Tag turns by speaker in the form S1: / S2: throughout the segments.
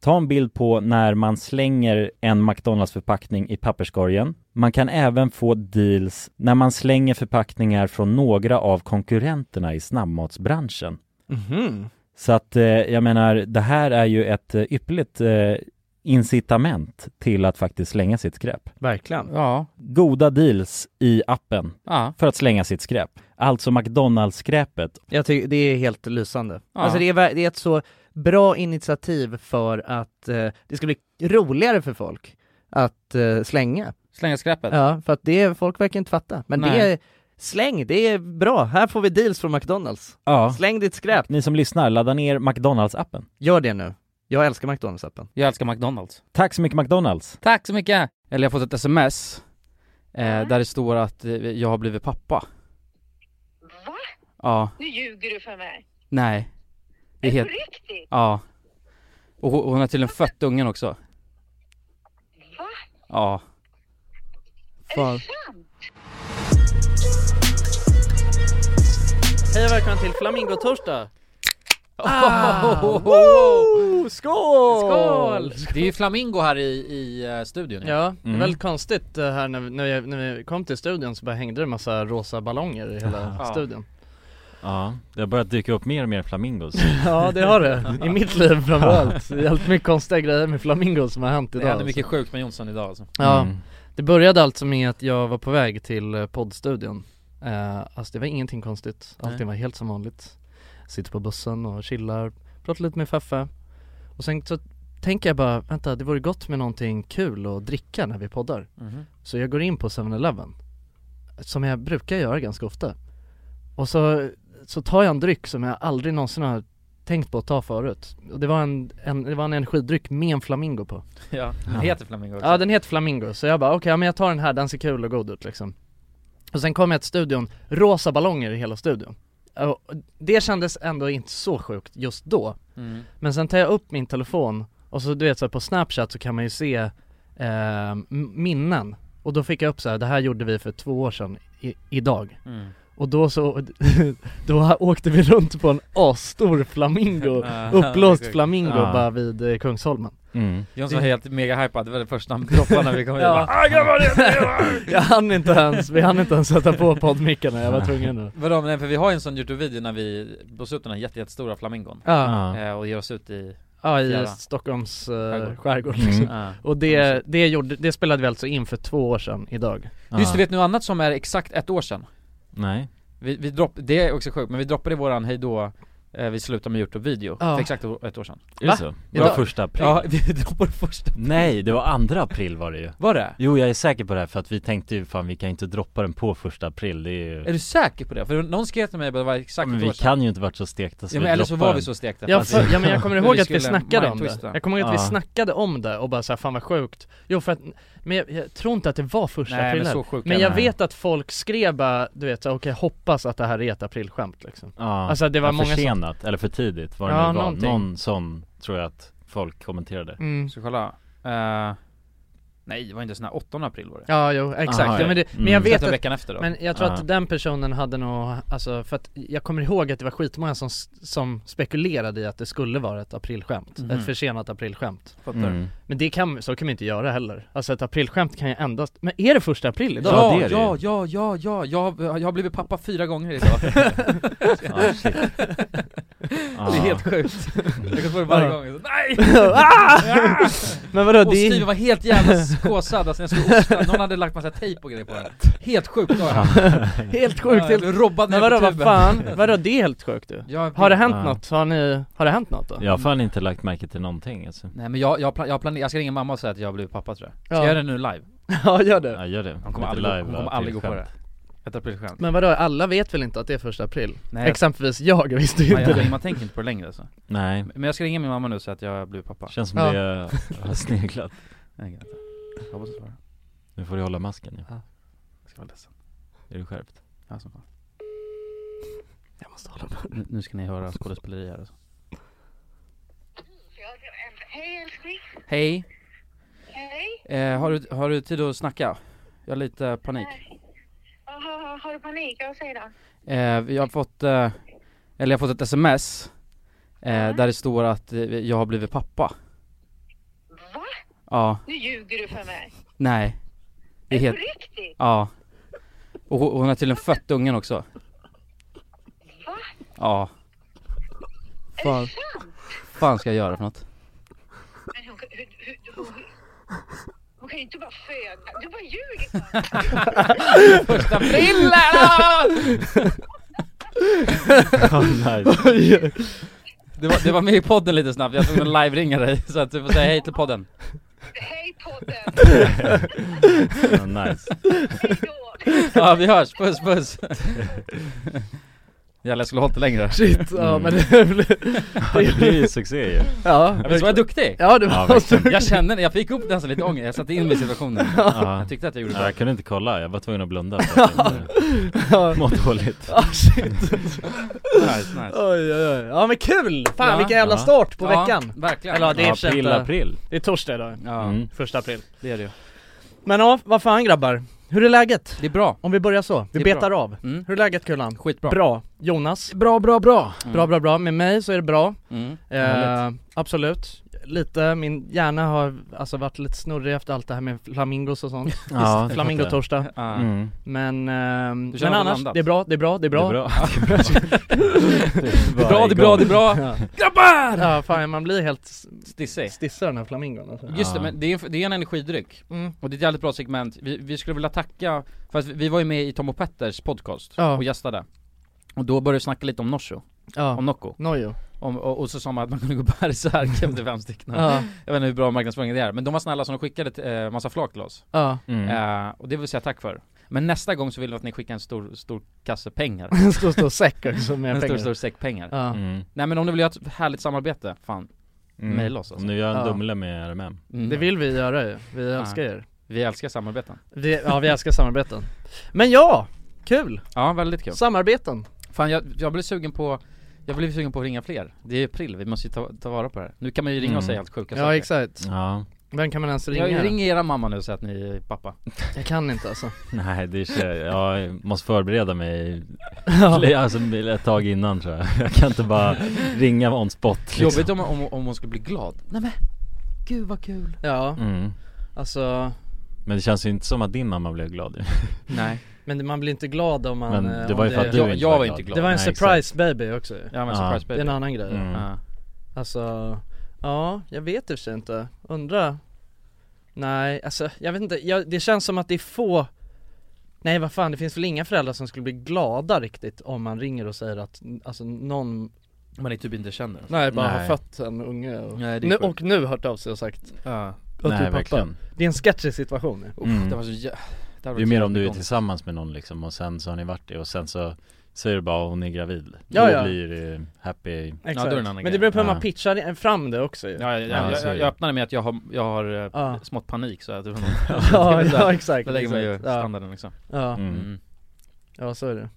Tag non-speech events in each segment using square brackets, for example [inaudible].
S1: ta en bild på när man slänger en McDonalds-förpackning i papperskorgen. Man kan även få deals när man slänger förpackningar från några av konkurrenterna i snabbmatsbranschen.
S2: Mhm.
S1: Så att eh, jag menar, det här är ju ett eh, ypperligt eh, incitament till att faktiskt slänga sitt skräp.
S2: Verkligen.
S3: Ja.
S1: Goda deals i appen
S3: Ja.
S1: för att slänga sitt skräp. Alltså McDonalds-skräpet.
S2: Jag tycker det är helt lysande.
S3: Ja.
S2: Alltså det är, ver- det är ett så bra initiativ för att eh, det ska bli roligare för folk att eh, slänga.
S3: Slänga skräpet.
S2: Ja, för att det är, folk verkar inte fatta. Men det
S3: Nej.
S2: är, släng, det är bra. Här får vi deals från McDonalds.
S1: Ja.
S2: Släng ditt skräp.
S1: Ni som lyssnar, ladda ner McDonalds-appen.
S2: Gör det nu. Jag älskar McDonalds-appen.
S3: Jag älskar McDonalds.
S1: Tack så mycket McDonalds!
S3: Tack så mycket! Eller jag har fått ett sms eh, där det står att eh, jag har blivit pappa.
S4: Va?
S3: Ja,
S4: Nu ljuger du för mig.
S3: nej. Det är
S4: På
S3: helt,
S4: riktigt?
S3: ja. Och hon, hon har tydligen fött ungen också.
S4: Va?
S3: Ja.
S4: Är
S3: Fan.
S4: det sant?
S2: Hej och välkommen till Flamingo-torsdag!
S3: [laughs]
S2: skål!
S3: Skål! Det är ju Flamingo här i, i eh, studion. ju.
S2: Ja, det
S1: Mm.
S2: är väldigt konstigt eh, här när vi, när, vi, när vi kom till studion så bara hängde det en massa rosa ballonger i hela
S3: Ja.
S2: studion
S1: Ja, det har börjat dyka upp mer och mer flamingos.
S2: [laughs] Ja det har det, i mitt liv
S3: [laughs]
S2: framförallt. Det är allt mycket konstiga grejer med flamingos som har hänt
S3: Det
S2: idag
S3: hände mycket sjukt med Jonsson idag alltså.
S2: alltså. Ja,
S1: Mm.
S2: det började alltså med att jag var på väg till eh, poddstudion eh, Alltså det var ingenting konstigt, allting
S3: Nej.
S2: var helt som vanligt Sitter på bussen och chillar, pratar lite med Feffe Och sen så tänker jag bara, vänta det vore gott med någonting kul att dricka när vi poddar Så jag går in på 7-Eleven Som jag brukar göra ganska ofta Och så, så tar jag en dryck som jag aldrig någonsin har tänkt på att ta förut Och det var en, en, det var en energidryck med en flamingo på
S3: Ja, den heter Flamingo också.
S2: Ja den heter flamingo, så jag bara okej ja, men jag tar den här, den ser kul och god ut liksom Och sen kom jag till studion, rosa ballonger i hela studion Och Det kändes ändå inte så sjukt just då
S3: Mm.
S2: men sen tar jag upp min telefon och så du vet så här, på snapchat så kan man ju se eh, m- minnen Och då fick jag upp så här, det här gjorde vi för två år sedan i, idag
S3: Mm.
S2: Och då så, [laughs] då åkte vi runt på en asstor
S3: [laughs]
S2: flamingo
S3: Ah, det är
S2: Uppblåst
S3: sjukt.
S2: flamingo
S1: Ah.
S2: bara vid eh, Kungsholmen
S1: Mm.
S3: Jonsson var helt mega hypad, det var det första han droppade när vi
S2: [laughs]
S3: kom hit.
S2: Ja. Ah,
S3: Bara, "Aj, jag var det, det var det."
S2: Jag hann inte ens, vi hann inte ens sätta på poddmickarna, jag var tvungen nu
S3: Vadå, nej, för vi har ju en sån Youtube-video när vi blåser upp den här jätte, jättestora flamingon
S2: Ja,
S1: Ja.
S3: eh, och ger oss ut i
S2: ja, i
S3: Fjärran.
S2: Stockholms eh,
S3: Skärgård.
S2: skärgård
S1: Mm.
S2: liksom.
S3: Ja.
S2: Och det, det, gjorde, det spelade vi alltså in för två år sedan idag
S3: Just det, vet ni något annat som är exakt ett år sedan?
S1: Ah. Nej.
S3: Vi, vi dropp, det är också sjukt, men vi droppade våran hejdå, eh, vi slutar med Youtube-video
S2: Ja.
S3: för exakt o- ett år sedan
S1: Är
S2: Va?
S1: det så? Det
S2: Idag?
S1: var första april?
S3: Ja, [laughs] vi droppade första
S1: Nej, det var andra april var det ju
S3: Var det?
S1: Jo jag är säker på det här för att vi tänkte ju fan vi kan inte droppa den på första april Det är ju
S3: Är du säker på det? För någon skrev till mig bara, det var exakt
S1: Men
S3: ett
S1: vi
S3: år sedan
S1: kan ju inte varit så stekta så
S3: ja,
S1: vi
S3: men eller så
S1: droppar
S3: var vi
S1: den.
S3: så stekta
S2: Ja,
S3: Alltså,
S2: för,
S3: [laughs]
S2: ja men jag kommer
S3: vi
S2: ihåg att vi
S3: skulle
S2: snackade om det
S3: mindtwista.
S2: Jag kommer ihåg att vi
S1: Ja.
S2: snackade om det och bara såhär, fan vad sjukt Jo för att, men jag, jag tror inte att det var första
S3: Nej
S2: april
S3: men
S2: men,
S3: så sjukt
S2: men jag
S1: Nej.
S2: vet att folk skrev bara, du vet så här, okej hoppas att det här är ett aprilskämt liksom
S1: ja.
S2: Alltså det var
S1: Ja,
S2: många som,
S1: försenat, eller för tidigt var det
S2: Ja,
S1: nu var.
S2: någonting.
S1: Någon sån tror jag att folk kommenterade
S2: mm.
S3: Ska kolla, Eh, nej det var inte sån här 8 april var det
S2: Ja jo, exakt,
S1: Aha,
S2: ja, men, det,
S1: ja.
S2: men jag
S1: Mm.
S3: Vet
S2: vet att,
S3: veckan efter då
S2: men jag tror
S1: Ja.
S2: att den personen hade nog, alltså för att jag kommer ihåg att det var skitmånga som, som spekulerade i att det skulle vara ett aprilskämt,
S3: Mhm.
S2: ett försenat aprilskämt
S3: Fattar du?
S1: mm.
S2: Men det kan, så kan vi inte göra heller Alltså ett aprilskämt kan ju endast, men är det första april idag?
S1: Ja,
S3: Ja,
S1: det är
S3: ja,
S1: det
S3: ja, ja, ja, jag, har- jag har blivit pappa fyra gånger
S2: [laughs]
S3: idag [laughs]
S1: Ja, shit. Ja.
S3: Det är
S2: Ah.
S3: helt sjukt Jag kan få det varje
S2: Ja.
S3: gång, så,
S2: [laughs]
S3: nej!
S2: Ah!
S3: Ah!
S2: Men vadå,
S3: Och
S2: det är
S3: Steven var helt jävla kåsad alltså när jag skulle osta, någon hade lagt massa tejp och grejer på den Helt sjukt var jag
S2: helt Ah. sjukt, helt...
S3: Jag robbade
S2: men
S3: ner
S2: vadå
S3: på
S2: vad
S3: tuben
S2: fan, vadå det är helt sjukt du?
S3: jag,
S2: Har det hänt
S1: Ja.
S2: något? Har ni, har det hänt något då?
S1: Jag har fan inte lagt märke till någonting alltså.
S3: Nej men jag, jag, plan, jag, planerar, jag ska ringa mamma och säga att jag har blivit pappa tror jag Ska
S2: Ja.
S3: jag göra det nu live?
S2: [laughs] Ja gör det
S1: Ja gör det,
S3: Hon kommer
S1: Lite
S3: aldrig, gå-
S1: live,
S3: hon kommer
S1: ja,
S3: aldrig gå på det
S1: aprilskämt.
S3: Ett aprilskämt
S2: Men vadå, alla vet väl inte att det är första april?
S3: Nej
S2: Exempelvis jag visste ju
S3: man,
S2: inte
S3: jag,
S2: det
S3: man tänker inte på det längre alltså.
S1: Nej,
S3: Men jag ska ringa min mamma nu och säga att jag har blivit pappa
S1: känns som
S2: Ja.
S1: det har sneglat
S3: Nej, jag kan inte. Jag hoppas hon svarar,
S1: Nu får du hålla masken ja.
S3: jag ska vara ledsen
S1: är du skärpt?
S3: ja, som fan.
S2: Jag måste hålla på.
S3: Nu nu ska ni höra skådespeleri här alltså.
S4: Jag- äm, Hej älskling.
S3: Hej,
S4: Hej.
S3: eh, har, du, har du tid att snacka? Jag har lite panik
S4: Har, har, har du panik? Jag säger då.
S3: Eh, vi har fått, eh, eller jag har fått ett sms eh, Där det står att eh, jag har blivit pappa
S4: Va?
S3: Ja,
S4: Nu ljuger du för mig.
S3: nej Det är
S4: På
S3: helt,
S4: riktigt?
S3: ja Och hon, hon har tydligen fött ungen också
S4: Va?
S3: Ja
S4: Är
S3: Fan,
S4: det sant?
S3: fan ska jag göra för något?
S4: Men hon, hur, hur, hon, hon kan ju inte bara föda. Du bara ljuger för mig.
S3: Första april hallå!
S1: [laughs] Ja, nice.
S3: [laughs] det var, det var med i podden lite snabbt, jag tog en live-ringa dig så att du får säga hej till podden
S4: Hej podden.
S1: Ja, nice.
S4: Hej då.
S3: Ja vi hörs, puss puss [laughs] Jävlar jag skulle hållit det längre
S2: Shit,
S3: Mm.
S2: ja men det blev...
S1: Ja, det blir ju succé ju
S2: Ja,
S3: Visst var jag duktig?
S2: ja det
S1: Ja,
S2: var så
S1: verkligen.
S3: Jag kände det, jag fick upp nästan lite ånger, jag satte in mig i situationen
S1: ja.
S3: Jag tyckte att jag gjorde
S1: Ja,
S3: bra
S1: jag kunde inte kolla, jag var tvungen att blunda för att jag inte- Mått dåligt
S2: Ah, shit.
S3: Nice, nice
S2: [laughs] Oj, oj, oj. Ja men kul! Fan
S3: Ja.
S2: vilken jävla
S1: Ja.
S2: start på
S3: Ja,
S2: veckan!
S3: Verkligen
S2: Eller ja, det är i och för sig
S1: April,
S2: inte-
S1: april
S2: [laughs]
S3: eh,
S2: Det är torsdag idag,
S3: Ja,
S1: Mm.
S2: första april
S3: det är det ju
S2: Men ja, vad fan grabbar? Hur är läget?
S3: Det är bra
S2: Om vi börjar så, vi
S3: Det är
S2: betar av
S3: mm.
S2: Hur är läget Kulan?
S3: Skitbra
S2: Bra, Jonas?
S1: Bra, bra, bra
S3: Mm.
S2: Bra bra bra, med mig så är det bra
S3: mm.
S2: eh, Absolut, lite, min hjärna har alltså varit lite snurrig efter allt det här med flamingos
S3: [laughs]
S2: och sånt
S1: Ja,
S2: Flamingotorsdag
S3: Ja.
S1: Mm.
S2: Men, ehm,
S3: Du känner
S2: men
S3: att du
S2: annars,
S3: landat?
S2: det är bra, det är bra, det är bra,
S1: Det
S3: [laughs]
S1: är bra, det är
S3: Bra, det är bra, det är bra!
S2: Ja.
S3: Grabbar!
S2: ja fan man blir helt s-
S3: Stissig
S2: stissig av den här flamingon alltså.
S3: Just det,
S1: Ja.
S3: men det är, det är en energidryck
S2: mm.
S3: Och det är ett jävligt bra segment, vi, vi skulle vilja tacka För att vi- vi var ju med i Tom och Petters podcast
S2: Ja.
S3: och gästade Och då började vi snacka lite om Norso,
S2: Ja,
S3: om Nocco
S2: Nojo
S3: om, och, och så sa man att man kunde gå [laughs] bärsärk efter fem stycken
S2: Ja,
S3: Jag vet inte hur bra marknadsföring det är, men de var snälla så de skickade eh, massa flak till oss
S2: ja
S1: Mm.
S3: eh, Och det vill säga tack för Men nästa gång så vill vi att ni skickar en stor, stor kasse
S2: [laughs]
S3: pengar
S2: En stor stor säck också med
S3: En [laughs]
S2: pengar
S3: stor, stor säck pengar
S2: Ja,
S1: Mm.
S3: Nej men om ni vill göra ett härligt samarbete, fan,
S1: Mm.
S3: mejla oss
S1: Om
S3: alltså.
S1: nu gör en
S2: Ja.
S1: Dumle med RMM
S3: mm.
S2: det vill vi göra ju, vi älskar er
S3: Vi älskar samarbeten
S2: vi, Ja vi älskar samarbeten Men ja, kul!
S3: Ja, väldigt kul
S2: Samarbeten!
S3: Fan jag, jag blev sugen på jag blev sugen på att ringa fler. Det är april, vi måste ju ta, ta vara på det här. Nu kan man ju ringa och
S1: Mm.
S3: säga helt sjuka
S2: Ja exakt,
S1: Ja,
S2: vem kan man ens ringa?
S3: Jag ringer era mamma nu och säger att ni är pappa.
S1: Liksom.
S2: Jag kan inte alltså
S1: [laughs] nej det är så, jag måste förbereda mig
S2: [laughs] ja.
S1: Alltså ett tag innan tror jag Jag kan inte bara ringa on spot liksom.
S3: Jobbigt om, om, om hon skulle bli glad. Nej men, gud vad kul.
S2: ja,
S1: mm.
S2: alltså
S1: Men det känns ju inte som att din mamma blev glad ju
S3: Nej.
S2: Men man blir inte glad om man...
S1: Men
S2: eh,
S1: det
S2: om
S1: var ju för att du
S3: Jag-
S1: inte
S3: jag
S1: var
S3: var
S1: glad
S3: inte glad.
S2: Det var en
S1: Nej,
S2: surprise baby också ju.
S3: Ja men
S1: Ja.
S3: surprise
S2: Det är
S3: baby.
S2: en annan grej
S1: Mm.
S3: Ja.
S2: Alltså, Ja, jag vet i och för sig inte, undra Nej, alltså jag vet inte, jag, det känns som att det är få Nej vad fan, det finns väl inga föräldrar som skulle bli glada riktigt om man ringer och säger att alltså, någon
S3: Man är typ inte känner
S2: Nej, bara
S1: Nej.
S2: har fött en unge och,
S3: Nej, det är
S2: nu,
S3: sjukt.
S2: och nu hört av sig och sagt
S3: Ja,
S2: att du är pappa Det är en sketchig situation nu.
S3: Uff,
S1: Mm.
S3: det var så jä... det här var
S1: Det är mer om du är
S3: jävligt
S1: tillsammans med någon liksom och sen så har ni varit det och sen så säger du bara hon är gravid
S2: Ja,
S1: Då
S2: ja.
S1: blir det happy
S3: då är det en annan
S2: Men det
S3: grej.
S2: beror på hur man
S1: Ja.
S2: pitchar fram det också ju [laughs]
S3: konstigt. Ja, ja,
S1: Ja,
S3: ja,
S1: så är
S3: jag,
S1: det.
S3: jag öppnade med att jag har, jag har eh,
S2: Ja.
S3: smått panik så att det var
S2: [laughs] ja,
S3: det är
S2: ja
S3: där.
S2: exakt
S3: Då lägger man ju
S2: exakt. ja,
S3: standarden liksom
S2: ja,
S1: mm.
S3: mm.
S2: ja så är det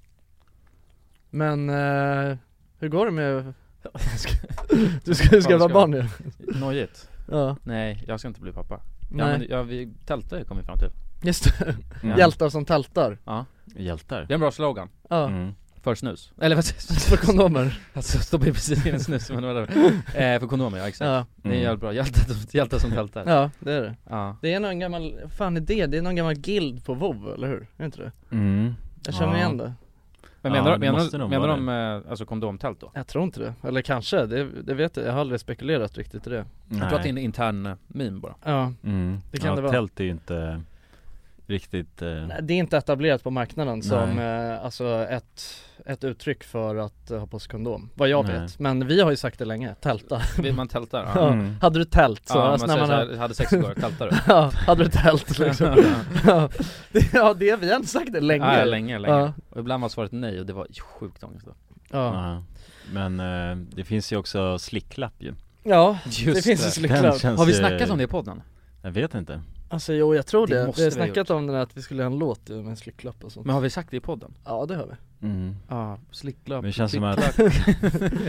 S2: Men, eh, hur går det med Du ska, du ska
S3: Fan,
S2: vara
S3: ska
S2: barn nu?
S3: Nojigt
S2: Ja,
S3: Nej, jag ska inte bli pappa Ja
S2: nej
S3: men ja, vi, tältar kom vi fram till
S2: Just det,
S1: Mm.
S2: hjältar som tältar
S1: Hjältar
S3: Det är en bra slogan
S2: Ja,
S1: mm.
S3: För snus, eller vad säger
S2: [laughs] för kondomer
S3: Alltså stoppa i precis in en snus men
S2: [laughs]
S3: whatever. eh, För kondomer ja, exakt
S2: Ja,
S3: Det är
S1: Mm.
S3: jävligt bra, hjältar hjältar som tältar Ja,
S2: ja det är det
S3: ja.
S2: Det är någon gammal, fan är det, det är någon gammal guild på WoW eller hur? Är det inte det?
S1: Mm.
S2: Jag känner
S1: Ja.
S2: igen det
S3: Men
S1: Ja,
S3: menar,
S1: det måste
S3: menar,
S1: nog
S3: menar
S1: vara
S3: de eh, alltså kondomtält då?
S2: Jag tror inte det, eller kanske, det, det vet jag, jag har aldrig spekulerat riktigt i det
S3: Jag tror att det är
S1: Nej.
S3: en intern eh, meme
S2: [laughs]
S3: bara
S2: Ja,
S1: Mm.
S2: Det kan
S1: ja,
S2: det vara.
S1: Tält är ju inte riktigt eh,
S2: nej, det är inte etablerat på marknaden som,
S1: Nej.
S2: eh, alltså ett, ett uttryck för att eh, ha på sig kondom, vad jag
S1: Nej.
S2: vet Men vi har ju sagt det länge, tälta [laughs]
S3: Vill Man tältar, ja,
S2: Ja.
S1: mm.
S2: Hade du tält så,
S3: ja man
S2: alltså när
S3: säger
S2: man
S3: såhär,
S2: har,
S3: jag hade sex igår, tältar du?
S2: [laughs] ja, hade du tält [laughs] liksom Ja, det, [laughs] ja, det vi har inte sagt det länge
S3: Ja, ja, länge, länge
S2: Ja.
S3: Och ibland var svaret nej och det var sjukt ångest då
S2: Ja,
S1: Ja. Men eh, det finns ju också slicklapp ju
S2: ja
S3: Just
S2: det finns ju slicklapp
S1: känns
S3: Har vi
S1: ju-
S3: snackat om det i podden?
S1: Jag vet inte
S2: Alltså jo, jag tror
S3: Det
S2: det,
S3: måste
S2: vi har
S3: vi ha
S2: snackat om det där att vi skulle ha en låt ju med en slicklapp och sånt
S3: Men har vi sagt det i podden?
S2: Ja det har vi
S1: mm.
S3: Ja, slicklapp,
S1: Men det känns som att-
S2: [laughs]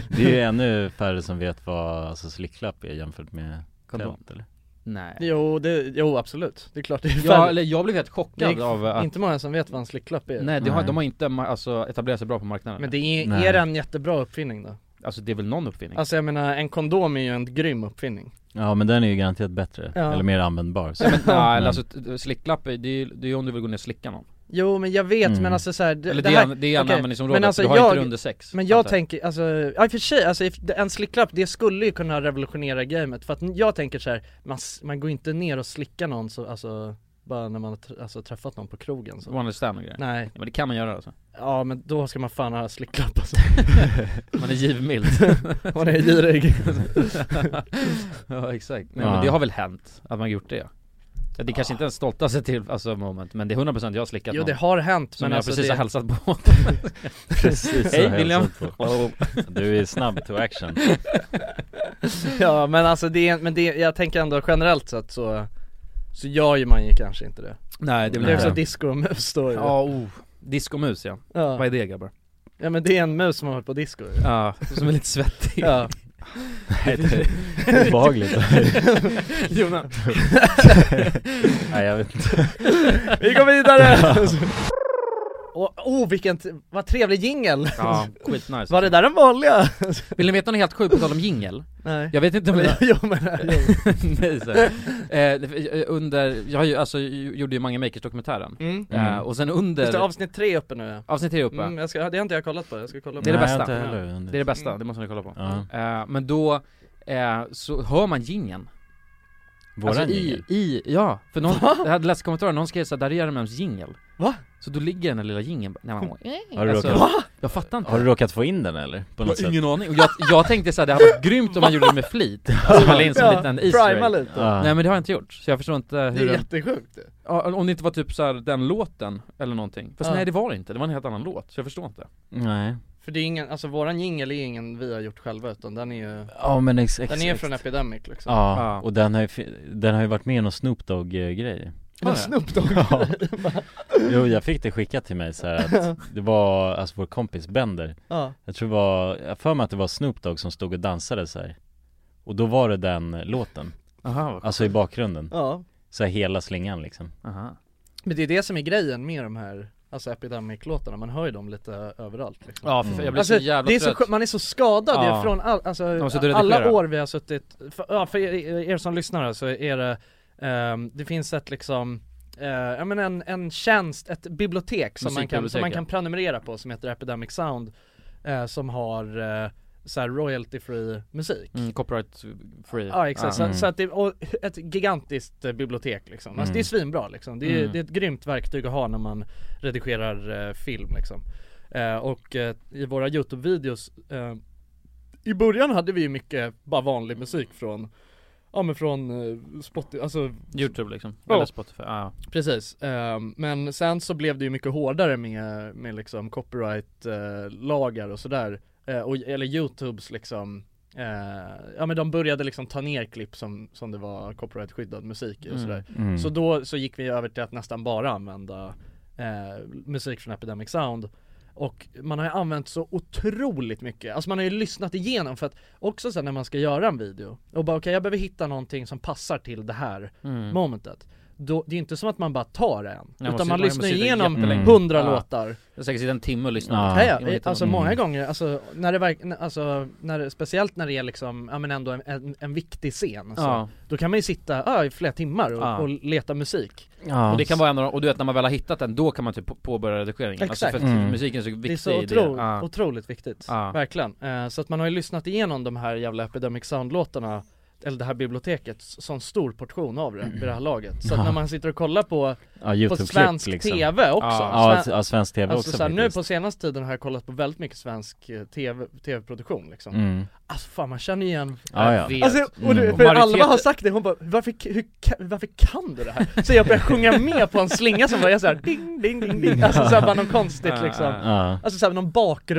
S1: Det är ju ännu färre som vet vad alltså, slicklapp är jämfört med
S3: Kondom.
S1: tält eller?
S3: Nej
S2: Jo, det, jo absolut, det är klart
S1: [laughs]
S2: det är
S3: Ja,
S2: fan,
S3: eller jag blev helt chockad
S2: Det är-
S3: av att
S2: inte många som vet vad en slicklapp är
S3: Nej, det har,
S1: Nej.
S3: de har inte ma- alltså, etablerat sig bra på marknaden
S2: Men det är,
S1: Nej.
S2: är det en jättebra uppfinning då?
S3: Alltså det är väl någon uppfinning?
S2: Alltså jag menar, en kondom är ju en grym uppfinning
S1: Ja men den är ju garanterat bättre,
S2: Ja.
S1: eller mer användbar så.
S3: Nej,
S2: [laughs]
S3: men, nej,
S1: Men-
S3: eller alltså t- slicklapp, är- det är ju det är ju om du vill gå ner och slicka någon
S2: Jo men jag vet,
S1: Mm.
S2: men alltså så här, det,
S3: Eller
S2: det
S3: det,
S2: här
S3: är, det är en
S2: okej,
S3: användningsområde,
S2: men alltså
S3: du har inte
S2: jag-
S3: det under sex
S2: Men jag
S3: antar
S2: tänker, alltså, ja, i och för sig, alltså, if- en slicklapp det skulle ju kunna revolutionera gamet För att jag tänker så här, man, s- man går inte ner och slickar någon så, alltså, bara när man har tr- alltså, träffat någon på krogen så.
S3: One night stand och grejer
S2: Nej,
S3: Ja, men det kan man göra
S2: [laughs]
S3: alltså,
S2: ja men då ska man fan ha slicklapp alltså,
S3: man är givmild
S2: [laughs] man är girig
S3: [laughs] Ja exakt, Nej,
S1: Ja.
S3: men det har väl hänt att man har gjort det Ja, det är kanske inte ens stoltaste till, alltså moment, men det är 100% jag har slickat
S2: Jo
S3: någon
S2: det har hänt
S3: Som
S2: men
S3: jag
S2: alltså
S3: precis
S2: det,
S3: har hälsat på
S1: [laughs] Precis,
S3: Hej
S1: så
S3: William!
S1: hälsat på. Du är snabb to
S3: [laughs]
S1: action
S2: [laughs] Ja men alltså det, är- men det, jag tänker ändå generellt sett så Så gör ju man ju kanske inte det
S3: [laughs] Nej
S2: Det
S3: det
S2: blir
S3: blir
S2: också
S1: Nej.
S2: disco och mus då ju ja.
S3: Ja, oh, discomus ja. Vad
S2: Ja.
S3: är det grabbar?
S2: ja men det är en mus som har varit på disco ju.
S3: Ja, [laughs] som är lite svettig
S2: Ja,
S1: Nej, det är obehagligt
S3: [laughs] Jonas
S1: [laughs] Nej jag vet inte
S2: [laughs] vi går vidare! Och, oh vilken, t- vad trevlig jingel!
S3: Ja, skitnice
S2: Var det där den vanliga?
S3: [laughs] Vill ni veta något helt sjukt på tal om jingel?
S2: Nej
S3: Jag vet inte om det
S2: [laughs] Jo men, jo.
S3: [laughs] Nej, så. här. Eh, eh, under, jag har ju, alltså, ju- gjorde ju Mange Makers dokumentären
S2: Mm.
S3: eh, Och sen under,
S2: Just det, avsnitt tre är uppe nu ja.
S3: avsnitt är uppe
S2: mm, jag ska, Det har inte jag kollat på, jag ska kolla på
S3: Det är det
S1: Nej,
S3: bästa.
S1: jag har inte heller.
S3: Det är det bästa, det måste ni kolla på
S1: Ja.
S3: eh, Men då, eh, så hör man gingen
S1: Våran
S3: alltså,
S1: jingel.
S3: i, i, ja, för någon, jag hade läst kommentarer, någon skrev såhär 'Där är Jeremejeffs jingel'
S2: Va?
S3: Så då ligger den där lilla jingeln bara, nej, man,
S1: Har du
S3: alltså,
S1: råkat-
S3: Jag fattar inte
S1: Har du råkat få in den eller? På
S3: Jag
S1: något
S3: har
S1: sätt?
S3: ingen aning, och jag, jag tänkte såhär, det hade varit grymt om man gjorde det med [laughs] flit Alltså man la in som en liten easter
S2: Prima
S3: egg
S2: lite,
S1: Ja.
S3: Nej men det har jag inte gjort, så jag förstår inte
S2: det är
S3: hur den,
S2: jättesjukt det.
S3: ja, om det inte var typ såhär den låten eller någonting Fast
S2: Ja.
S3: nej det var det inte, det var en helt annan låt, så jag förstår inte
S1: Nej
S2: För det är ingen, alltså våran jingel är ingen vi har gjort själva utan den är ju
S1: Ja men ex, ex,
S2: Den är
S1: ex.
S2: från Epidemic liksom
S1: Ja,
S3: Ja.
S1: och den har, ju, fi- den har ju varit med i någon Snoop Dogg-grej
S3: Har
S2: Men
S3: det?
S2: Snoop Dogg
S1: Ja. Jo jag fick det skickat till mig så här
S2: [laughs]
S1: att det var, alltså vår kompis Bender
S2: Ja,
S1: Jag tror det var, jag har för mig att det var Snoop Dogg som stod och dansade så här. Och då var det den låten,
S3: Aha, vad
S1: alltså i bakgrunden,
S2: ja
S1: så här hela slingan liksom
S3: Aha.
S2: Men det är det som är grejen med de här, alltså Epidemic-låtarna, man hör ju dem lite överallt liksom
S3: Ja, för,
S1: Mm.
S3: jag blir
S2: Alltså,
S3: så jävla
S2: det är så,
S3: trött
S2: skönt, man är så skadad
S3: Ja.
S2: ju från all, alltså,
S3: har suttit och
S2: alla
S3: redigerat.
S2: år vi har suttit, för, ja, för er, er som lyssnar här så är det, ehm, det finns ett liksom eh, ja men en, en tjänst, ett bibliotek som man, kan,
S3: Musikbibliotek,
S2: som man
S3: ja.
S2: kan prenumerera på som heter Epidemic Sound eh, Som har eh, så här royalty free musik.
S3: Mm, copyright free. mm.
S2: Ja exakt,
S1: Ja.
S2: så, så att det, och ett gigantiskt eh, bibliotek liksom. Alltså
S1: Mm.
S2: det är svinbra liksom. Det är,
S3: Mm.
S2: det är ett grymt verktyg att ha när man redigerar eh, film liksom. Eh, och eh, i våra Youtube-videos eh, I början hade vi ju mycket bara vanlig musik från Ja men från eh, Spotify, alltså
S3: Youtube liksom,
S2: Ja.
S3: eller Spotify, ja.
S2: Precis, ehm, men sen så blev det ju mycket hårdare med, med liksom copyright-lagar och sådär, eh, och, eller Youtubes liksom eh, Ja men de började liksom ta ner klipp som, som det var copyright-skyddad musik i och
S3: Mm.
S2: sådär
S1: Mm.
S2: Så då så gick vi över till att nästan bara använda eh, musik från Epidemic Sound och man har ju använt så otroligt mycket, alltså man har ju lyssnat igenom för att också sen när man ska göra en video och bara okej jag behöver hitta någonting som passar till det här
S3: Mm.
S2: momentet då, Det är inte som att man bara tar en,
S3: Nej, man
S2: utan
S3: sitter-
S2: man
S3: man
S2: lyssnar
S3: sitter
S2: igenom
S3: jättelänge. Mm.
S2: hundra
S3: Ja.
S2: låtar
S3: Jag har säkert sitta en timme och lyssna
S1: Ja.
S3: på
S2: ja,
S3: det.
S2: ja,
S3: Det var inte
S2: alltså
S3: någon- Mm.
S2: många gånger, alltså när det verkligen, alltså när det, speciellt när det är liksom, ja men ändå en, en, en viktig scen så,
S3: Ja.
S2: Då kan man ju sitta ja, i flera timmar och,
S3: Ja.
S2: och leta musik
S1: ja.
S3: Och det kan vara en av de, och du vet när man väl har hittat den, då kan man typ på- påbörja redigeringen
S2: Exakt.
S3: Alltså för att
S1: Mm.
S3: musiken är så viktig
S2: Det är så
S3: i
S2: otro,
S3: det. Ja.
S2: otroligt viktigt,
S3: Ja.
S2: verkligen Eh, Så att man har ju lyssnat igenom de här jävla Epidemic Sound-låtarna eller det här biblioteket, s- sån stor portion av det vid det här laget. Så att
S1: Ja.
S2: när man sitter och kollar på,
S1: ja,
S2: på
S1: YouTube-klipp liksom.
S2: svensk
S3: liksom.
S2: TV också,
S1: Ja,
S2: sven-
S1: s- ja, svensk TV
S2: Alltså
S1: också
S2: såhär, nu
S1: faktiskt.
S2: på senaste tiden har jag kollat på väldigt mycket svensk eh, TV, tv-produktion liksom
S1: mm.
S2: Alltså fan man känner igen
S1: ja, ja.
S3: Jag vet.
S2: Alltså, och du,
S1: Mm.
S2: för
S3: Majoriteten-
S2: Alva har sagt det, hon bara varför, k- hur, ka- varför kan du det här? Så jag börjar sjunga med på en slinga som bara är såhär ding ding ding ding Alltså såhär bara något konstigt
S3: Ja,
S2: liksom
S3: ja.
S1: Ja.
S2: Alltså såhär någon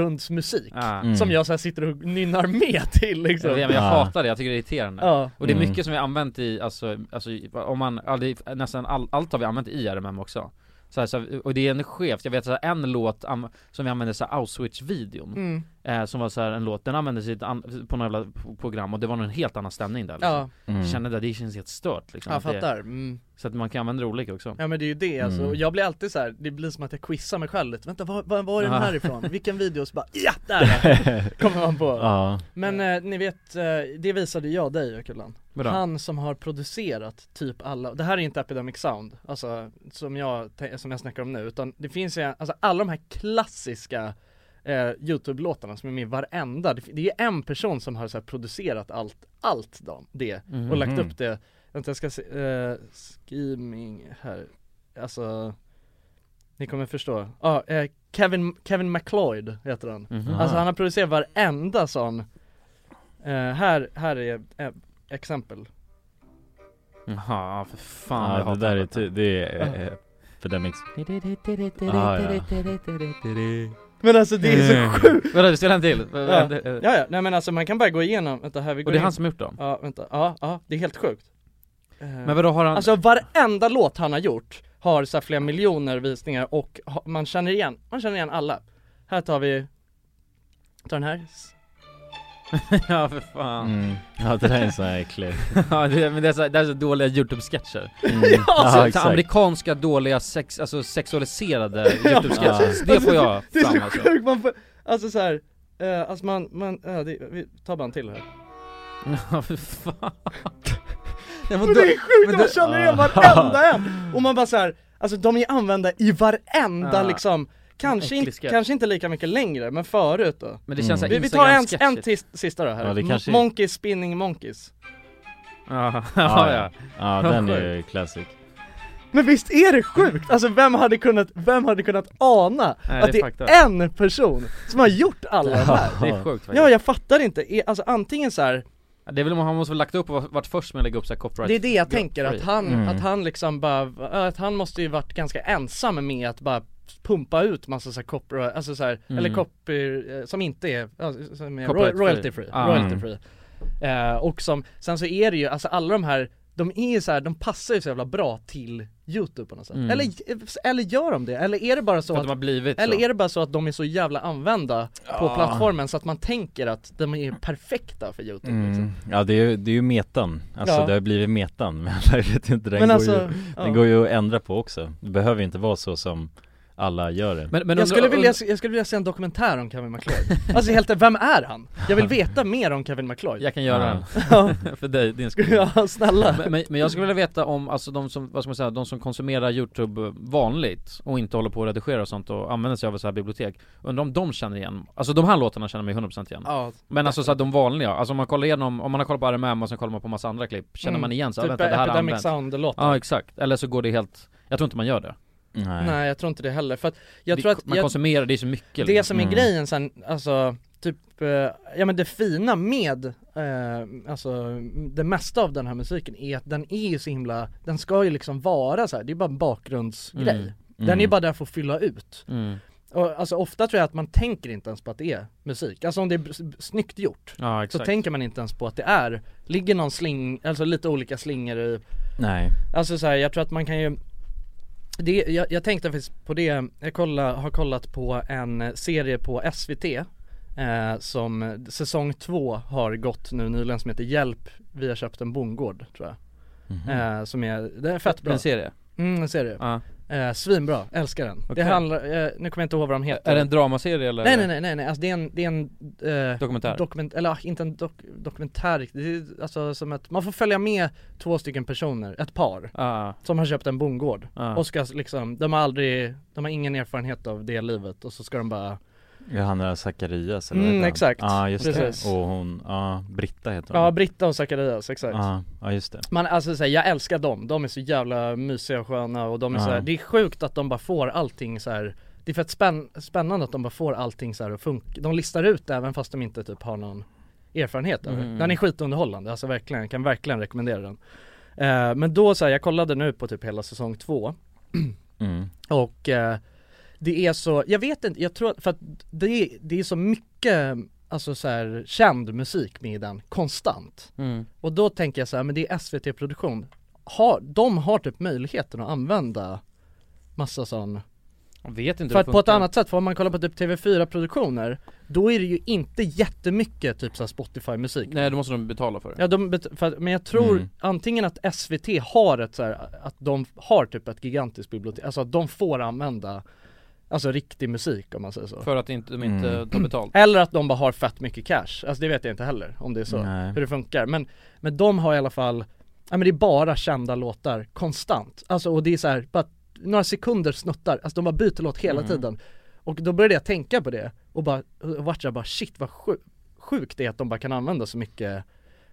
S2: bakgrundsmusik
S3: Ja.
S1: Mm.
S2: Som jag såhär sitter och nynnar med till liksom
S3: Jag, vet, men jag
S1: Ja.
S3: hatar det, jag tycker det är irriterande
S2: Ja,
S3: Och det är
S1: Mm.
S3: mycket som vi har använt i, alltså, alltså i- om man, ja, det är nästan all, allt har vi använt i RMM också så här, så här, och det är en skevt, jag vet så här, en låt am, som vi använde så här, Auschwitz-videon,
S2: mm.
S3: eh, som var så här, en låt, den användes i ett an, på några jävla p- program och det var en helt annan stämning där liksom.
S2: ja,
S1: Mm.
S3: Kände det, det känns helt stört liksom
S2: jag
S3: att det-
S2: fattar mm.
S3: Så att man kan använda det olika också
S2: Ja men det är ju det alltså,
S1: Mm.
S2: och jag blir alltid så här, det blir som att jag quizar mig själv lite Vänta, var, var, var är den
S3: Ja.
S1: Ah.
S2: här ifrån? Vilken
S1: [laughs]
S2: video? Så bara, ja! Där! Kommer man på
S1: ja.
S2: Men eh, ni vet, eh, det visade jag dig Kulan
S3: Vadå?
S2: Han som har producerat typ alla, det här är inte Epidemic Sound, alltså som jag, te- som jag snackar om nu, utan det finns ju, alltså alla de här klassiska eh, Youtube-låtarna som är med i varenda, det, fi- det är ju en person som har så här, producerat allt, allt dem, det, och lagt upp det, vänta jag ska se, eh, Scheming här, alltså ni kommer förstå, ja, eh, Kevin, Kevin McLeod heter han
S3: Mhm.
S2: Alltså han har producerat varenda sån Eh, Här, här är eh, exempel
S3: Jaha, Mm, ja, för fan jag
S1: ja, det
S3: hatar
S1: där är, ty- det är eh, Epidemic
S3: Ah,
S1: Ja, ja.
S2: Men alltså det är
S3: Eh.
S2: så sjukt!
S3: Vadå, vi spelar en till? eh,
S2: Ja. Ja, ja, nej men alltså man kan bara gå igenom, vänta här vi går
S3: Och det är
S2: in.
S3: han som gjort dem?
S2: Ja vänta, ja, ja, det är helt sjukt Eh,
S3: Men vadå har han?
S2: Alltså varenda låt han har gjort har så här flera miljoner visningar och ha, man känner igen, man känner igen alla Här tar vi, tar den här
S3: [laughs] ja för fan
S1: Mm. ja, det där är en sån här
S2: [laughs]
S1: äcklig
S3: Ja det, men det är så, det är så dåliga youtube-sketcher
S1: mm.
S3: alltså,
S1: Ja,
S3: så
S1: exakt
S3: amerikanska dåliga sex, alltså sexualiserade
S2: [laughs]
S3: youtube-sketcher, det får jag
S2: Det är
S3: fram
S2: så
S3: alltså
S2: sjukt, man får, alltså såhär, eh, alltså man, man, ja, det, vi tar bara en till här
S3: [laughs] Ja för fan jag
S2: Men det är sjukt,
S3: men Ah.
S2: man
S3: det-
S2: känner
S3: [laughs]
S2: igen varenda en! Och man bara såhär, alltså de är använda i varenda
S3: Ja.
S2: liksom Kanske, in,
S3: Ah. Äcklig sketch.
S2: kanske inte lika mycket längre, men förut då
S3: Men det känns såhär
S2: Mm. Vi, vi tar en, en
S3: Instagram-sketchigt.
S2: tis, sista då här,
S1: Ja, det
S2: M-
S1: kanske-
S2: Monkeys spinning monkeys
S3: Ja, [laughs] ja, ja.
S1: Ja, den är ju classic
S2: Men visst är det sjukt? Alltså vem hade kunnat, vem hade kunnat ana
S3: Nej,
S2: att
S3: det
S2: det
S3: är
S2: är
S3: fakta.
S2: en person som har gjort alla de
S3: [laughs]
S2: här?
S3: Det är sjukt faktiskt
S2: Ja jag fattar inte, E- alltså antingen så här
S3: Ja, Det är väl om han måste väl lagt upp och varit först med att lägga upp såhär copyright
S2: Det är det jag tänker, att
S3: free.
S2: han,
S1: Mm.
S2: att han liksom bara, att han måste ju varit ganska ensam med att bara pumpa ut massa såhär copyright, alltså såhär,
S3: Mm.
S2: eller copy, eh, som inte är, alltså, som är roy,
S3: Copyright free.
S2: royalty free,
S3: Ah.
S2: royalty free. Eh, och som, sen så är det ju, alltså alla de här, de är ju såhär, de passar ju så jävla bra till youtube på något sätt.
S3: Mm.
S2: Eller, eh, eller gör de det? Eller är det bara så
S3: För att
S2: att,
S3: de har blivit
S2: eller
S3: så. Ah.
S2: är det bara så att de är så jävla använda på
S1: Ja.
S2: plattformen så att man tänker att de är perfekta för youtube liksom.
S1: mm. Ja, det är ju, det är ju metan Alltså
S2: Ja.
S1: det har blivit metan [laughs] Men jag vet inte, den,
S2: Men
S1: går,
S2: alltså,
S1: ju,
S2: ja.
S1: den går ju att ändra på också Det behöver ju inte vara så som alla gör det.
S3: Men, men
S2: jag, skulle
S3: undra-
S2: vilja, jag skulle vilja se en dokumentär om Kevin MacLeod
S3: [laughs]
S2: Alltså helt ärligt, vem är han? Jag vill veta mer om Kevin MacLeod
S3: Jag kan göra
S1: Ja.
S3: den, för dig, din skull
S2: Ja, snälla
S3: men, men- men jag skulle vilja veta om, alltså de som, vad ska man säga, de som konsumerar youtube vanligt och inte håller på att redigera och sånt och använder sig av så här bibliotek Undrar om de känner igen, alltså de här låtarna känner man ju 100% igen
S2: Ja,
S3: Men alltså så här, de vanliga, alltså om man kollar igenom, om man har kollat på RMM och sen kollar man på massa andra klipp Känner
S2: Mm,
S3: man igen så här,
S2: typ
S3: vänta det här
S2: Epidemic
S3: används
S2: Sound-låtar
S3: Ja exakt, eller så går det helt, jag tror inte man gör det
S1: Nej.
S2: Nej jag tror inte det heller, för att jag
S3: det,
S2: tror att
S3: Man
S2: jag,
S3: konsumerar, det är så mycket
S2: det
S3: liksom.
S2: som är
S1: Mm.
S2: grejen sen, alltså typ, eh, ja men det fina med, eh, alltså det mesta av den här musiken är att den är ju så himla, den ska ju liksom vara så här. det är bara en bakgrundsgrej
S3: Mm.
S2: Den är ju bara där för att fylla ut.
S3: mm.
S2: Och, alltså ofta tror jag att man tänker inte ens på att det är musik. Alltså om det är s- snyggt gjort,
S3: Ja exakt
S2: så tänker man inte ens på att det är, ligger någon sling, alltså lite olika slingor i
S1: Nej.
S2: Alltså så här, jag tror att man kan ju det, jag, jag tänkte faktiskt på det, jag kolla, har kollat på en serie på SVT eh, Som säsong två har gått nu nyligen som heter Hjälp, vi har köpt en bondgård tror jag eh, Som är, det är fett bra
S3: Mhm. En serie?
S2: Mm, en serie
S3: Ja.
S2: eh, Svinbra, älskar den Det
S3: Okej.
S2: handlar, eh, nu kommer jag inte ihåg vad de heter
S3: Är det en dramaserie eller?
S2: Nej nej nej nej, nej. Alltså, det är en, det är en eh,
S3: Dokumentär?
S2: Dokument, eller ah, inte en dok, dokumentär, det är alltså som att man får följa med två stycken personer, ett par
S3: Ja,
S2: som har köpt en bondgård
S3: ja.
S2: och ska liksom, de har aldrig, de har ingen erfarenhet av det livet och så ska de bara
S1: Johanna Zacharias eller vad
S2: Mm,
S1: heter han?
S2: exakt.
S1: Ja just
S2: Precis.
S1: det, och hon, ja Britta heter hon
S2: Ja, Britta och Zacharias, exakt
S1: Ja, ja just det
S2: Man, alltså så här, jag älskar dem, de är så jävla mysiga och sköna och de är
S1: Ja.
S2: så här, det är sjukt att de bara får allting så här. Det är fett spänn, spännande att de bara får allting så här att funka, de listar ut det även fast de inte typ har någon erfarenhet över
S3: Mm.
S2: Den är skitunderhållande, alltså verkligen, jag kan verkligen rekommendera den Eh, Men då så här, jag kollade nu på typ hela säsong två
S1: [clears throat] mm.
S2: Och eh, det är så, jag vet inte, jag tror att, för att det är, det är så mycket, alltså så här, känd musik med i den, konstant.
S3: Mm.
S2: Och då tänker jag så här, men det är SVT-produktion, har, de har typ möjligheten att använda massa sån
S3: Jag vet inte
S2: För
S3: hur
S2: att
S3: det
S2: på ett
S3: funkar.
S2: annat sätt, för om man kollar på typ TV4-produktioner, då är det ju inte jättemycket typ så här Spotify-musik
S3: Nej då måste de betala för det
S2: Ja, de, bet- för, att- men jag tror
S1: Mm.
S2: antingen att SVT har ett så här, att de har typ ett gigantiskt bibliotek, alltså att de får använda Alltså riktig musik om man säger så
S3: För att inte, de inte
S1: Mm.
S3: tar betalt
S2: Eller att de bara har fett mycket cash, alltså det vet jag inte heller om det är så,
S1: Nej.
S2: hur det funkar men, men de har i alla fall, ja men det är bara kända låtar konstant Alltså och det är så här, bara några sekunder snuttar, alltså de bara byter låt hela
S3: Mm.
S2: tiden Och då började jag tänka på det och bara, och vart jag bara shit vad sju, sjukt det är att de bara kan använda så mycket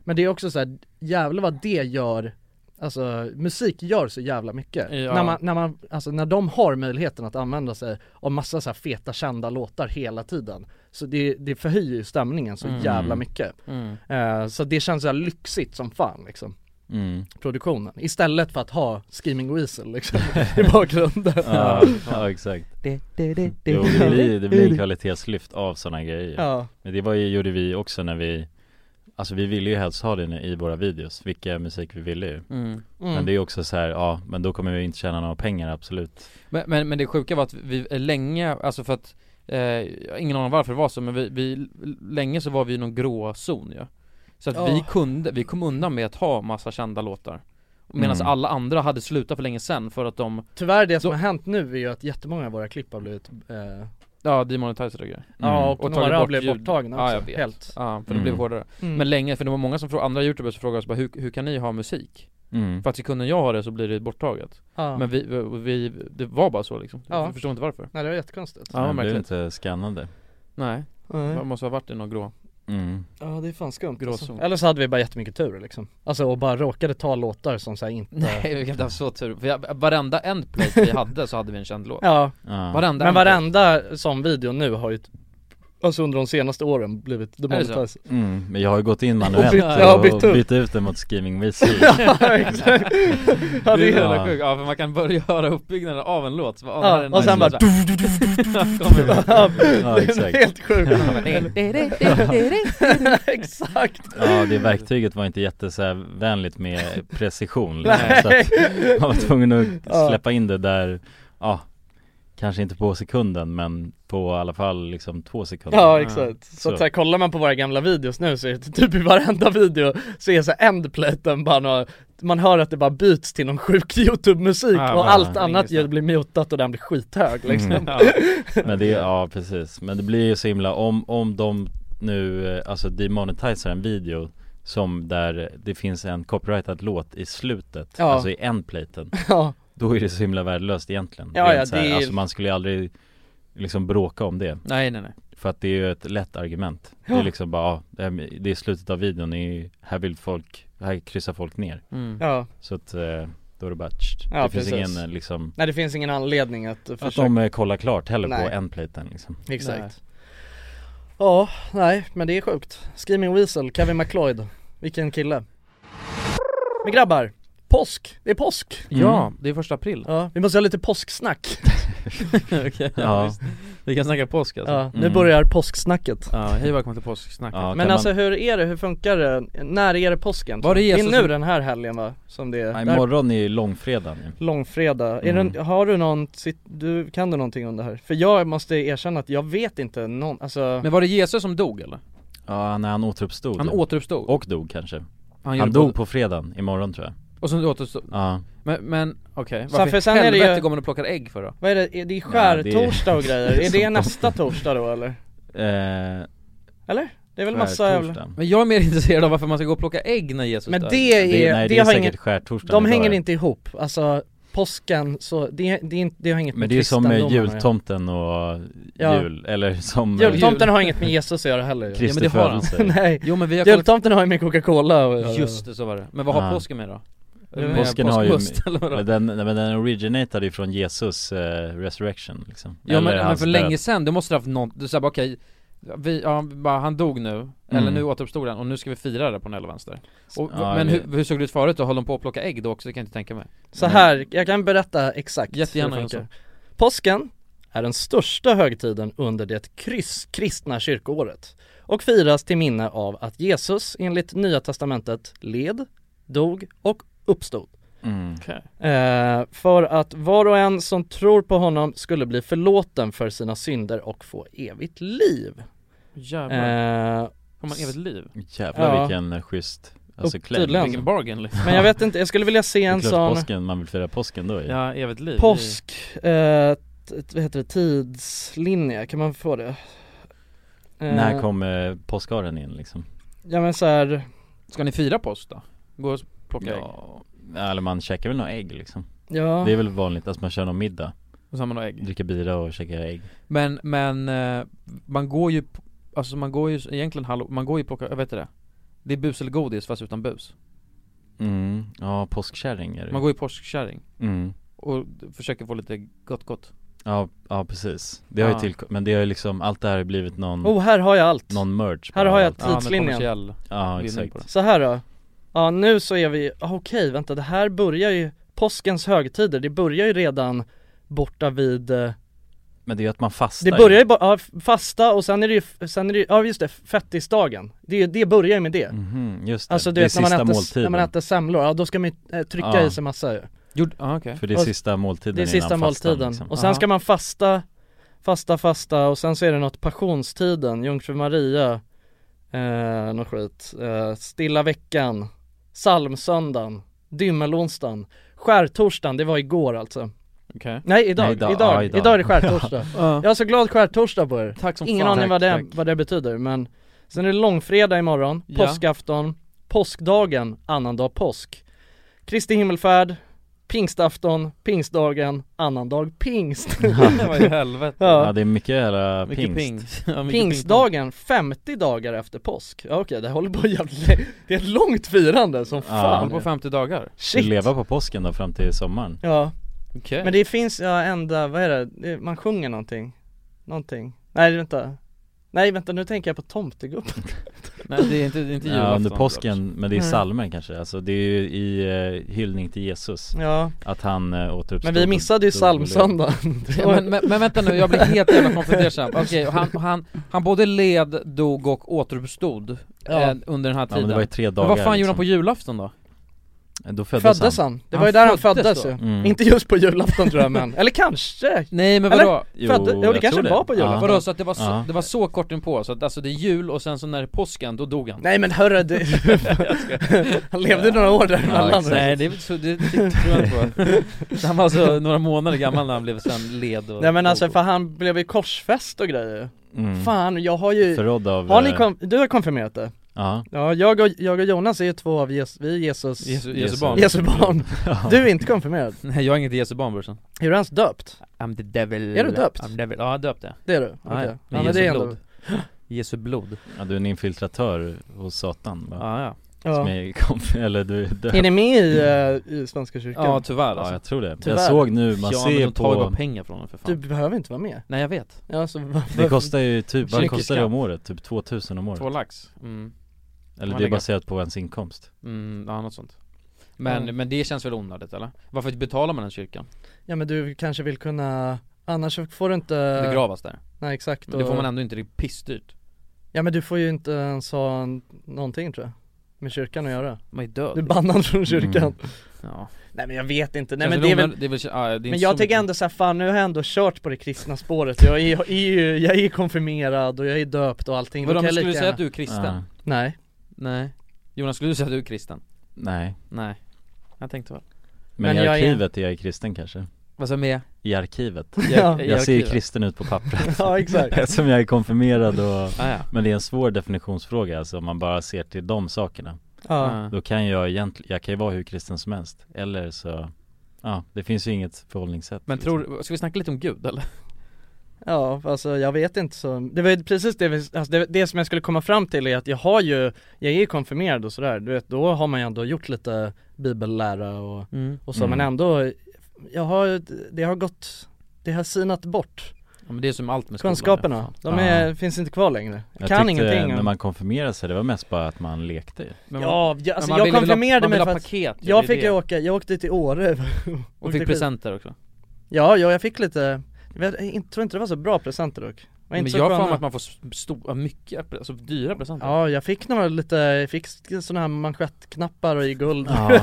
S2: Men det är också så här, jävlar vad det gör Alltså musik gör så jävla mycket.
S3: Ja.
S2: När, man, när, man, alltså, när de har möjligheten att använda sig av massa så här feta kända låtar hela tiden Så det, det förhöjer ju stämningen så
S3: Mm.
S2: jävla mycket
S3: mm.
S2: Eh, Så det känns så här lyxigt som fan liksom, [laughs]
S1: Mm.
S2: produktionen Istället för att ha Screaming Weasel liksom [laughs] i bakgrunden
S1: [laughs]
S2: [laughs]
S1: Ja, ja exakt Jo, det blir, det blir en kvalitetslyft av sådana grejer
S2: Ja,
S1: Men det var ju, gjorde vi också när vi Alltså vi ville ju helst ha det i våra videos, vilka musik vi ville ju
S3: Mm.
S2: mm.
S1: Men det är ju också så här, ja men då kommer vi inte tjäna några pengar absolut
S3: Men, men, men det sjuka var att vi länge, alltså för att eh, jag har Ingen aning om varför det var så men vi, vi länge så var vi i någon grå zon ja. Så att
S2: Ja.
S3: vi kunde, vi kom undan med att ha massa kända låtar Medan
S1: Mm.
S3: alla andra hade slutat för länge sen för att de,
S2: Tyvärr det som
S3: Då-
S2: har hänt nu är ju att jättemånga av våra klipp har blivit eh,
S3: ja demonetiserade och grejer
S2: Ja
S1: Mm.
S2: och,
S3: Och tagit
S2: några har
S3: bort
S2: blivit
S3: ljud.
S2: borttagna
S3: Ja,
S2: också,
S3: jag vet.
S2: helt
S3: Ja, för det
S1: Mm.
S3: blev hårdare
S2: Mm.
S3: Men länge, för det var många som frågade, andra youtubers som frågade oss bara, hur, hur kan ni ha musik?
S1: mm.
S3: För att sekunden jag har det så blir det borttaget
S2: ja.
S3: Men vi, vi, det var bara så liksom,
S2: Ja.
S3: jag förstår inte varför
S2: Nej det var jättekonstigt
S3: Ja,
S1: Men blev
S3: märkligt
S1: inte skannade
S3: Nej,
S2: Nej.
S3: man måste ha varit i någon grå
S1: mm.
S2: Ja det är fan skumt alltså.
S3: Gråzon.
S2: Eller så hade vi bara jättemycket tur liksom Alltså och bara råkade ta låtar som såhär
S3: [laughs]
S2: inte
S3: Nej vi kan inte ha så tur, för jag, varenda endplate vi hade så hade vi en känd låt
S2: Ja,
S1: ja.
S3: Varenda
S2: men
S3: endplate.
S2: varenda [laughs] sån video nu har ju t- Alltså under de senaste åren blivit demonetiserad
S1: Mm, men jag har ju gått in manuellt
S2: bytt-
S1: och,
S2: [laughs] ja, bytt
S1: bytt,
S2: ut.
S1: ut den mot
S2: [laughs]
S1: Screaming Weasel
S2: Ja exakt Ja
S3: Det är
S2: det är
S3: hela
S1: Ja.
S3: sjukt, ja för man kan börja höra uppbyggnaden av en låt så bara,
S2: Ja,
S3: det
S2: och sen
S3: [laughs]
S2: bara- [laughs]
S1: Ja
S2: det är
S1: exakt,
S2: helt sjukt [laughs] Exakt
S1: ja det verktyget var inte jätte så här vänligt med precision liksom,
S2: Nej.
S1: så att man var tvungen att
S2: [laughs] Ja.
S1: släppa in det där, ja Kanske inte på sekunden men på i alla fall liksom två sekunder
S2: Ja exakt, så,
S1: Så.
S2: att så här, kollar man på våra gamla videos nu så är det typ i varenda video så är så här endplaten bara några, man hör att det bara byts till någon sjuk [laughs] youtube-musik
S3: Ja,
S2: och
S3: bara
S2: allt
S3: ringer
S2: annat
S3: så här.
S2: ljud blir mutat och den blir skithög liksom
S1: Mm.
S3: Ja.
S1: Men det, ja precis, men det blir ju så himla, om, om de nu, eh, alltså demonetiserar en video som där det finns en copyrightad låt i slutet,
S2: Ja.
S1: alltså i endplaten
S2: Ja,
S1: Då är det så himla värdelöst egentligen
S2: Ja,
S1: Rent
S2: ja,
S1: så här,
S2: det är-
S1: Alltså man skulle ju aldrig liksom bråka om det
S3: Nej nej nej
S1: För att det är ju ett lätt argument Det
S2: Ja.
S1: är liksom bara, ja, det här- det är slutet av videon, det är, ju- här vill folk, här kryssar folk ner
S3: mm.
S2: ja,
S1: Så att eh, då är det bara tsch.
S2: Ja,
S1: Det finns
S2: precis.
S1: ingen eh, liksom
S2: nej det finns ingen anledning att
S1: Att
S2: försöka,
S1: de eh, kollar klart heller på
S2: Nej.
S1: endplaten liksom
S2: exakt Ja, nej men det är sjukt Screaming Weasel, Kevin MacLeod, vilken kille Men grabbar, påsk, det är påsk!
S3: Ja, det är första april
S2: Ja, vi måste ha lite påsksnack
S3: Okej,
S1: Ja.
S3: visst. Vi kan snacka påsk alltså
S2: Ja, nu
S1: Mm.
S2: börjar påsksnacket
S3: Ja, hej välkommen till påsksnacket
S1: Ja,
S2: Men
S1: kan
S2: alltså hur är det, hur funkar det? När är det påsken?
S3: Var det Jesus
S2: är nu
S3: som-
S2: den här helgen va? Som det är?
S1: Nej,
S2: Där-
S1: imorgon är ju långfredagen ju.
S2: Långfredag, är
S1: Mm.
S2: det, har du någon, sit- du, kan du någonting om det här? För jag måste erkänna att jag vet inte någon, alltså
S3: Men var det Jesus som dog eller?
S1: Ja, när han återuppstod
S3: Han återuppstod?
S1: Och dog kanske
S3: han
S1: Han,
S3: gjorde
S1: dog
S3: både-
S1: på fredagen, imorgon tror jag
S3: Och sen återuppstod
S1: Ja,
S3: Men, men okej,
S2: Så
S3: varför
S2: för
S3: i
S2: sen är det ju-
S3: helvete går man och plockar ägg för då?
S2: vad är det, är det skärtorsdag och grejer? Är
S1: som
S2: det
S1: de-
S2: nästa torsdag då eller?
S1: eh,
S2: Det är väl massa jävla...
S1: skärtorsdagen.
S3: Men jag är mer [laughs] intresserad av varför man ska gå och plocka ägg när Jesus
S2: Men
S3: dör
S2: det är,
S1: Typ det,
S2: det,
S1: nej, det, är
S2: har
S1: säkert
S2: inget,
S1: skärtorsdagen
S2: de
S1: idag,
S2: hänger
S1: ja.
S2: inte ihop, alltså påsken så, det, det, är inte- det har inget
S1: Men
S2: med
S1: det är ju som eh,
S2: kristendomen att göra.
S1: jultomten och
S2: Ja.
S1: jul, eller som eh,
S2: Jultomten har inget med Jesus att göra heller ju.
S1: Kristi
S3: Ja, men det har han.
S1: födelse
S2: [laughs] Nej,
S3: Jo men vi har kollat...
S2: jultomten har ju med Coca-Cola att göra.
S3: Just det, så var det Men vad har
S1: Ja. Mm.
S3: påsken med då?
S2: Jag vet
S3: Med
S1: Påsken har ju-
S3: påskmust, eller vadå?
S1: Men den, nej, men den originatade ju från Jesus eh, resurrection liksom
S3: Ja men,
S1: Eller
S3: men
S1: hans
S3: för
S1: död.
S3: länge sen, du måste ha haft något, du sa bara okej vi, ja, bara, han dog nu, eller
S1: Mm.
S3: nu återuppstod han och nu ska vi fira det på en eller vänster och,
S1: Ja,
S3: Men
S1: det-
S3: hur, hur såg det ut förut då? Höll de på att plocka ägg då också? Det kan jag inte tänka mig
S2: Så här, jag kan berätta exakt
S3: Jättegärna,
S2: hur det funkar. Påsken är den största högtiden under det kryss, kristna kyrkoåret och firas till minne av att Jesus enligt Nya Testamentet led, dog och uppstod.
S1: mm.
S2: Eh, för att var och en som tror på honom skulle bli förlåten för sina synder och få evigt liv.
S3: Jävlar,
S2: Eh,
S3: har man evigt liv?
S1: Jävlar
S2: Ja.
S1: vilken schysst, alltså
S2: Upp-
S1: claim
S2: tydligen.
S3: Vilken bargain liksom
S2: men jag vet inte, jag skulle vilja se
S1: Det är
S2: en
S1: klart
S2: sån
S1: påsken, man vill fira påsken då ju
S3: Ja, evigt liv
S2: påsk, eh, t- vad heter det, tidslinje, kan man få det? Eh,
S1: När kom eh, påskaren in liksom?
S2: Ja men såhär,
S3: Ska ni fira påsk då? Gå och plocka ägg?
S1: Ja, eller man käkar väl några ägg liksom
S2: ja
S1: Det är väl vanligt att man kör någon middag,
S3: Och så har man några ägg
S1: dricker bira och käkar ägg
S3: Men, men eh, man går ju, p- alltså man går ju s- egentligen hallo, man går ju plocka, jag vet det Det är bus eller godis fast utan bus
S1: Mm, ja påskkärring är det
S3: Man går ju påskkärring
S1: mm.
S3: och försöker få lite gott gott
S1: ja, ja precis, det har
S3: Ja.
S1: ju till, men det har ju liksom, allt det här har blivit någon,
S2: Oh här har jag allt!
S1: någon merge
S2: Här
S1: bara
S2: har jag
S1: av allt.
S3: Ja, med
S2: Tidslinjen.
S3: kommersiell
S1: Ja
S3: vinning
S1: exakt
S3: på det.
S2: Så här då, ja nu så är vi, ah, okej vänta det här börjar ju, påskens högtider, det börjar ju redan borta vid, eh,
S1: Men det är ju att man fastar
S2: det börjar ju bara, ja, f- fasta och sen är det ju, f- sen är det ju, ja just det, fettisdagen, det, det börjar ju med det
S1: Mhm, just det,
S2: Alltså du
S1: det är
S2: vet när man,
S1: sista
S2: äter,
S1: måltiden
S2: när man äter semlor, ja då ska man ju eh, trycka
S1: Ja.
S2: i sig massa ju
S3: Gjord, ja okej
S1: För det är
S2: Och-
S1: sista måltiden
S2: Det är sista
S1: innan fastan,
S2: måltiden,
S1: liksom.
S2: och sen
S3: Aha.
S2: ska man fasta, fasta, fasta och sen så är det något passionstiden, Jungfru Maria, eh, något skit, eh, stilla veckan, psalmsöndagen, dymmelonsdagen, skärtorsdagen, det var igår alltså
S3: okej
S2: Nej idag,
S1: Nej,
S2: idag,
S1: idag.
S2: idag,
S1: Ja, idag.
S2: är
S1: [laughs]
S2: det skärtorsdag
S3: Ja.
S2: Jag är så glad skärtorsdag på er
S3: Tack som
S2: Ingen
S3: fan
S2: aning vad det,
S3: Tack, tack.
S2: vad det betyder men Sen är det långfredag imorgon,
S3: Ja.
S2: påskafton, påskdagen, annandag påsk Kristi himmelfärd, pingstafton, pingstdagen, annandag pingst
S3: Det var ju helvete
S2: Ja.
S1: Ja det är mycket jävla
S3: Mycket
S1: pingst
S3: pingst ja, mycket
S2: Pingstdagen, 50 dagar efter påsk Ja okej, det håller på jävligt länge. Det är ett långt firande som
S3: pingst. Håller
S2: fan
S3: på 50 dagar
S1: Vill
S2: Shit!
S1: leva på påsken då fram till sommaren
S2: Ja,
S3: Okej
S2: men det finns, ja enda, vad är det, Det- man sjunger någonting Någonting Nej vänta Nej vänta, nu tänker jag på tomtegubben
S3: Nej det är inte, det är inte
S1: Ja, under
S3: julafton
S1: påsken, men det är
S2: Nej.
S1: salmen kanske, alltså det är ju i eh, hyllning till Jesus
S2: Ja,
S1: Att han eh, återuppstod
S2: men vi missade ju
S1: och- och- och-
S2: psalmsöndagen
S3: [laughs] Ja, men, men, men vänta nu, jag blir helt [laughs] jävla konfunderad Okej, och han, han, han både led, dog och återuppstod
S2: Ja.
S3: eh, under den här
S1: Ja
S3: tiden
S1: men det var ju tre dagar
S3: Men vad fan gjorde
S1: liksom.
S3: han på julafton då?
S1: Då föddes,
S2: Föddes
S1: han.
S2: han? Det
S3: Han
S2: var ju där han
S3: föddes
S2: föddes
S3: då?
S2: ju
S1: Mm.
S2: Inte just på julafton tror jag [laughs] men, eller kanske!
S3: Nej men
S2: Eller?
S3: vadå?
S1: Jo,
S2: Födde, jo,
S1: jag
S2: det
S1: tror
S2: kanske
S1: det.
S2: var på
S1: Ja.
S2: julafton
S3: Vadå så att det var så,
S1: Ja.
S3: det var så kort inpå? Så att alltså det är jul och sen så när det är påsken, då dog [laughs] han?
S2: Nej men hörru, [laughs] det... han levde några år däremellan
S1: exakt.
S3: Nej det, är- så, det, det tror jag inte [laughs] på Han var alltså några månader gammal när han blev sen led och
S2: Nej men alltså
S3: och-
S2: för han blev ju korsfäst och grejer
S1: Mm.
S2: Fan, jag har ju,
S1: Förrådd av...
S2: har ni
S1: eh,
S2: kom, du har konfirmerat det?
S1: Ja.
S2: Ja, jag och, jag och Jonas är ju två av Jesus, vi är Jesus,
S3: Jesu, Jesu,
S1: Jesus.
S3: barn?
S2: Jesu barn Du är inte konfirmerad,
S3: Nej jag är inget Jesu barn brorsan
S2: är du ens döpt?
S3: I'm the devil
S2: Är du döpt?
S3: I'm devil, ja jag döpte
S2: Det är du? Okej.
S3: ja,
S2: Ja,
S3: med
S2: men
S3: Jesu
S2: det
S3: [gasps]
S2: är ändå
S3: blod Jesu blod,
S1: ja, du är en infiltratör hos Satan va?
S3: ja ja
S1: Som
S2: ja.
S1: är konf- [laughs] eller du är död.
S2: Är ni med i, eh, i Svenska kyrkan?
S3: Ja tyvärr
S1: Ja
S3: alltså
S1: jag tror det.
S2: Tyvärr.
S1: Jag såg nu, man
S3: Ja men
S1: ser
S3: de tar ju bara
S1: på...
S3: pengar från honom för fan
S2: Du behöver inte vara med
S3: Nej jag vet,
S2: Ja, alltså, så,
S1: Det kostar ju typ, vad
S3: Mycket
S1: kostar det
S3: skatt.
S1: om året? Typ 2000 om
S3: två
S1: året?
S3: lax mm.
S1: Eller
S3: man
S1: det är
S3: lägger-
S1: baserat på ens inkomst
S3: Mm, ja något sånt men,
S2: Mm.
S3: men det känns väl onödigt eller? Varför betalar man den kyrkan?
S2: Ja men du kanske vill kunna, annars så får du inte
S3: Begravas där?
S2: Nej exakt
S3: Men det får man ändå inte, det är pissdyrt
S2: Ja men du får ju inte ens ha en, någonting tror jag Med kyrkan att göra
S3: Man är
S2: Du är
S3: död liksom.
S2: bannad från kyrkan
S1: Mm.
S3: ja.
S2: Nej men jag vet inte, nej
S3: Känns
S2: men det är väl
S3: onödigt- det är väl ja, Alltså, det är inte
S2: Men
S3: så
S2: jag tycker
S3: mycket.
S2: ändå såhär, fan nu har jag ändå kört på det kristna spåret Jag är, jag är ju, jag är konfirmerad och jag är döpt och allting Då
S3: Vadå, men
S2: kan jag
S3: skulle du
S2: lika
S3: säga
S2: gärna-
S3: att du är kristen?
S1: Ja.
S2: Nej
S3: Nej Jonas, skulle du säga att du är kristen?
S1: Nej
S3: Nej Jag tänkte väl
S1: Men,
S2: Men
S1: i
S2: jag är-
S1: arkivet är jag kristen kanske?
S3: Vad sa [laughs] med?
S1: I arkivet?
S2: Ja.
S3: I
S1: Jag ser ju
S3: arkivet.
S1: kristen ut på pappret
S2: Ja
S1: [laughs]
S2: exakt
S1: Eftersom jag är konfirmerad och
S3: ah, ja.
S1: Men det är en svår definitionsfråga alltså om man bara ser till de sakerna
S2: Ja,
S3: Ah.
S1: Då kan jag egentligen, jag kan ju vara hur kristen som helst Eller så, ja det finns ju inget förhållningssätt
S3: Men
S1: liksom.
S3: tror, ska vi snacka lite om Gud eller?
S2: ja alltså jag vet inte så Det var ju precis det, vi, alltså, det, det som jag skulle komma fram till är att jag har ju Jag är ju konfirmerad och sådär, du vet då har man ju ändå gjort lite bibellära och, och så
S1: Mm.
S2: men ändå Jag har, det har gått Det har sinat bort
S3: Ja men det är som allt med skolan ja,
S2: kunskaperna
S3: fan.
S2: De är, finns inte kvar längre Jag,
S1: jag
S2: kan
S1: tyckte
S2: ingenting
S1: när
S2: om-
S1: man konfirmerade sig, det var mest bara att man lekte ju
S3: Men man-
S2: Ja, jag, alltså
S3: men man
S2: jag
S3: ville väl ha-
S2: konfirmerade
S3: man
S2: mig
S3: ville
S2: för
S3: ha
S2: att
S3: paket, ju,
S2: Jag
S3: det är
S2: fick
S3: det.
S2: ju åka, jag åkte till Åre
S3: Och fick presenter också
S2: Ja, ja jag fick lite, jag vet- jag tror inte det var så bra presenter dock Var inte
S3: Men
S2: så
S3: jag har
S2: sköna.
S3: för mig att man får s- stora, mycket, alltså dyra presenter
S2: Ja, jag fick några lite, jag eh, fick sådana här manschettknappar och i guld
S1: Ja, [laughs]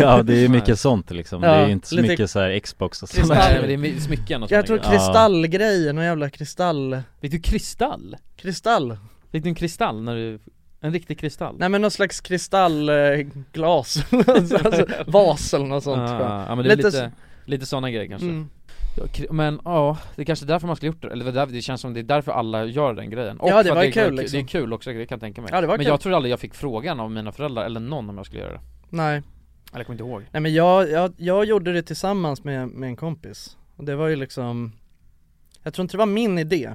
S1: ja det är ju mycket sånt liksom Det är
S2: Ja,
S1: ju inte så
S2: lite
S1: mycket så här Xbox och
S2: kristall.
S1: sånt
S3: Nej [laughs] men det är my- smycken och såna
S2: Jag tror
S3: grejer.
S1: Ja.
S2: kristallgrejer, någon jävla kristall,
S3: Fick du kristall?
S2: kristall
S3: Fick du en kristall när du, en riktig kristall?
S2: Nej men någon slags kristallglas, [laughs] alltså, vas eller något sånt tror jag.
S3: ah, ja men det är
S2: Lite
S3: lite,
S2: s-
S3: lite, såna grejer kanske
S2: mm.
S3: Ja, kri- Men ja, det är kanske är därför man skulle gjort det, eller det, där, det känns som det är därför alla gör den grejen
S2: Ja,
S3: för
S2: det
S3: att
S2: var ju kul,
S3: det,
S2: liksom.
S3: det är kul också, det kan jag tänka mig
S2: Ja, det var
S3: Men
S2: kul.
S3: jag tror aldrig jag fick frågan av mina föräldrar eller någon om jag skulle göra det
S2: Nej,
S3: Eller jag kommer inte ihåg
S2: nej men jag, jag, jag gjorde det tillsammans med, med en kompis och det var ju liksom Jag tror inte det var min idé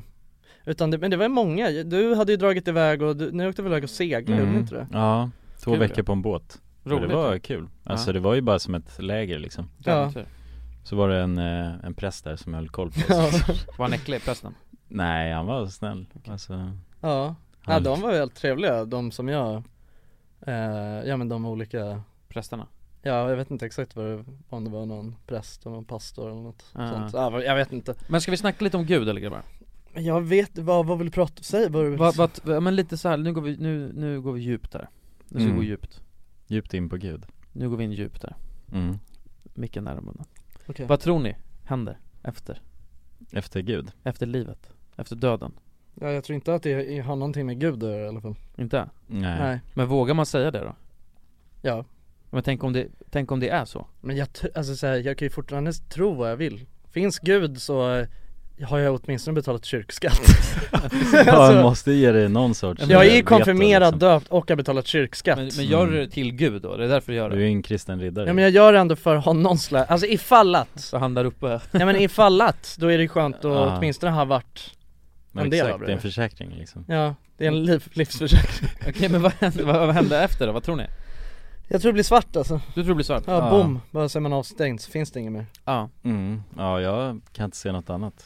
S2: Utan det, men det var ju många, du hade ju dragit iväg och du, ni åkte väl iväg och seglade,
S3: Mm.
S2: gjorde ni inte det?
S1: Mm. Ja, två
S3: Kul,
S1: veckor
S3: ja.
S1: på en båt Och
S3: Roligt
S1: Det var kul, alltså
S3: Ja.
S1: det var ju bara som ett läger liksom
S3: ja.
S1: Så var det en, eh, en präst där som höll koll på
S2: Ja.
S1: oss
S3: Var han äcklig prästen?
S1: [laughs] Nej han var snäll, alltså
S2: Ja, ja de var ju helt trevliga, de som jag eh, Ja men de olika
S3: Prästerna?
S2: Ja jag vet inte exakt vad det, om det var någon präst eller någon pastor eller något
S3: Ja.
S2: sånt ja, vad- Jag vet inte
S3: Men ska vi snacka lite om gud eller grabbar?
S2: Men jag vet, vad, vad vill du prata, säg vad du vill
S3: Va, va, ja, men lite så här, nu går vi, nu, nu går vi djupt där Nu ska
S1: Mm.
S3: vi gå djupt
S1: djupt in på gud
S3: Nu går vi in djupt där,
S1: mm.
S3: micken nära munnen
S2: Okej.
S3: Vad tror ni händer efter,
S1: Efter gud
S3: efter livet? Efter döden?
S2: Ja jag tror inte att det har någonting med gud att göra i alla fall
S3: Inte?
S1: Nej, [laughs]
S2: Nej,
S3: Men vågar man säga det då?
S2: ja
S3: Men tänk om det, tänk om det är så?
S2: Men jag, tr- alltså så här, jag kan ju fortfarande tro vad jag vill Finns gud så eh, har jag åtminstone betalat kyrkskatt
S1: Ja, man
S2: alltså,
S1: måste ge dig någon sorts
S2: Jag är ju
S1: veto,
S2: konfirmerad,
S1: liksom.
S2: döpt och har betalat kyrkskatt
S3: Men, men gör du
S2: Mm.
S3: det till Gud då? Det är därför du gör
S1: Du
S3: det?
S1: är ju en kristen riddare
S2: Ja men jag gör det ändå för att ha någon slags, alltså ifall att [laughs]
S3: Så han där uppe [laughs]
S2: Nej men ifall att, då är det skönt att
S1: Ja.
S2: åtminstone ha varit,
S1: Men
S2: en del
S1: Exakt,
S2: av det.
S1: det är en försäkring liksom
S2: ja det är en liv, livsförsäkring
S3: Okej men vad händer, vad, vad händer efter då? Vad tror ni?
S2: Jag tror det blir svart alltså,
S3: Du tror det blir svart?
S2: ja,
S1: Ja.
S2: bom, bara så är man avstängd så finns det inget mer
S3: Ja
S1: mm. Ja, jag kan inte se något annat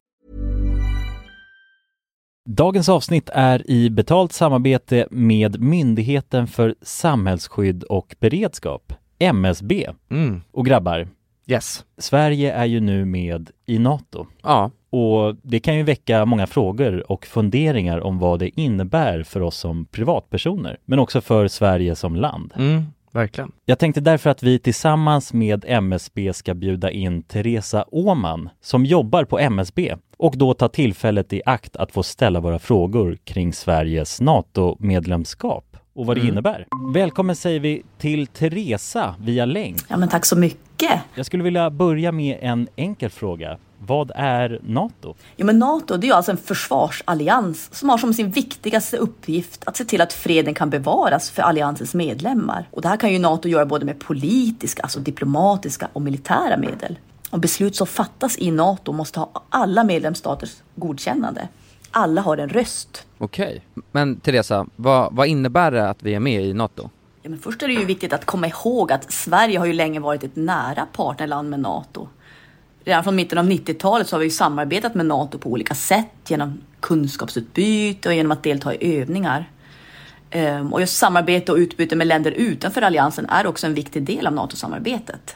S1: Dagens avsnitt är i betalt samarbete med Myndigheten för samhällsskydd och beredskap, MSB.
S2: Mm,
S1: Och grabbar,
S2: yes
S1: Sverige är ju nu med i NATO
S2: Ja,
S1: och det kan ju väcka många frågor och funderingar om vad det innebär för oss som privatpersoner, men också för Sverige som land.
S2: mm, verkligen
S1: Jag tänkte därför att vi tillsammans med MSB ska bjuda in Teresa Åman som jobbar på MSB och då ta tillfället i akt att få ställa våra frågor kring Sveriges NATO-medlemskap och vad det
S2: Mm.
S1: innebär. Välkommen säger vi till Teresa via länk.
S5: Ja, men tack så mycket.
S1: Jag skulle vilja börja med en enkel fråga. Vad är NATO?
S5: Jo, men Nato det är ju alltså en försvarsallians som har som sin viktigaste uppgift att se till att freden kan bevaras för alliansens medlemmar. Och det här kan ju Nato göra både med politiska, alltså diplomatiska och militära medel. Och beslut som fattas i Nato måste ha alla medlemsstaters godkännande. Alla har en röst.
S3: Okej, men Teresa, vad, vad innebär det att vi är med i NATO?
S5: Ja, men först är det ju viktigt att komma ihåg att Sverige har ju länge varit ett nära partnerland med Nato. Redan från mitten av 90-talet så har vi ju samarbetat med Nato på olika sätt genom kunskapsutbyte och genom att delta i övningar. Ehm, Och just samarbete och utbyte med länder utanför alliansen är också en viktig del av NATO-samarbetet.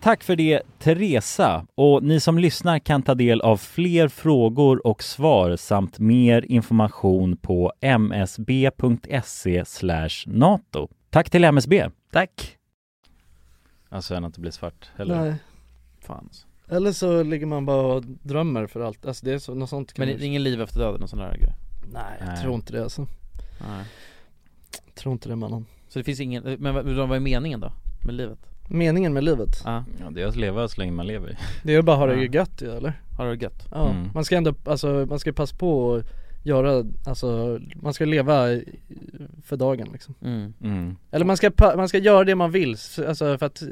S1: Tack för det Teresa och ni som lyssnar kan ta del av fler frågor och svar samt mer information på msb.se E NATO. Tack till MSB. Tack. Alltså gärna inte bli svart alltså. heller.
S2: Nej.
S3: Fan.
S2: Eller så ligger man bara och drömmer för allt, alltså det är så, något sånt kan
S3: Men det
S2: man-
S3: är ingen liv efter döden och sån där grej?
S2: Nej, jag
S1: Nej.
S2: tror inte det alltså Tror inte det mannen
S3: Så det finns ingen, men vad- vad är meningen då? Med livet?
S2: Meningen med livet,
S3: Ja,
S1: Ja, det är att leva så länge man lever.
S2: det är ju bara att ha
S3: Ja.
S2: det gött ju eller?
S3: har du det gött?
S2: Ja,
S1: Mm.
S2: man ska ändå, alltså man ska passa på att göra, alltså man ska leva i- för dagen liksom
S3: Mm.
S1: Mm.
S2: Eller man ska, pa- man ska göra det man vill, s- alltså för att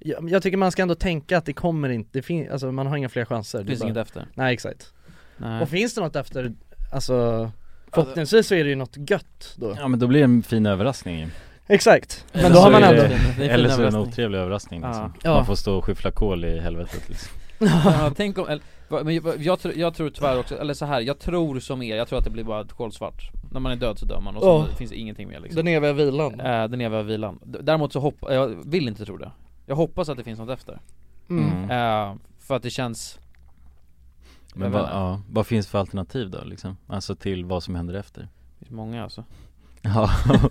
S2: jag, jag tycker man ska ändå tänka att det kommer inte, det fin, alltså man har inga fler chanser
S3: Det finns
S2: är bara-
S3: inget efter?
S2: Nej exakt,
S3: Nej.
S2: och finns det något efter, alltså Förhoppningsvis så är det ju något gött då
S1: Ja men då blir det en fin överraskning ju.
S2: Exakt,
S1: Eller
S2: men då
S1: så
S2: har man
S1: är
S2: ändå
S1: det- Eller så är det en otrevlig överraskning liksom.
S2: Ja.
S1: Man får stå och skyffla kol i helvetet liksom.
S3: Ja, tänk om, eller, va- men jag, jag, tror- jag tror tyvärr också, eller så här, jag tror som er, jag tror att det blir bara ett kolsvart När man är död så dör man och så
S2: Ja.
S3: finns det ingenting mer liksom
S2: Den eviga vilan
S3: Eh, Den eviga vilan D- Däremot så hoppas, jag vill inte tro det Jag hoppas att det finns något efter
S1: Mm.
S3: Eh, För att det känns
S1: Men
S3: Jag
S1: vad,
S3: menar-
S1: ja, vad finns för alternativ då liksom? Alltså till vad som händer efter?
S3: det finns många alltså
S1: Ja, [laughs]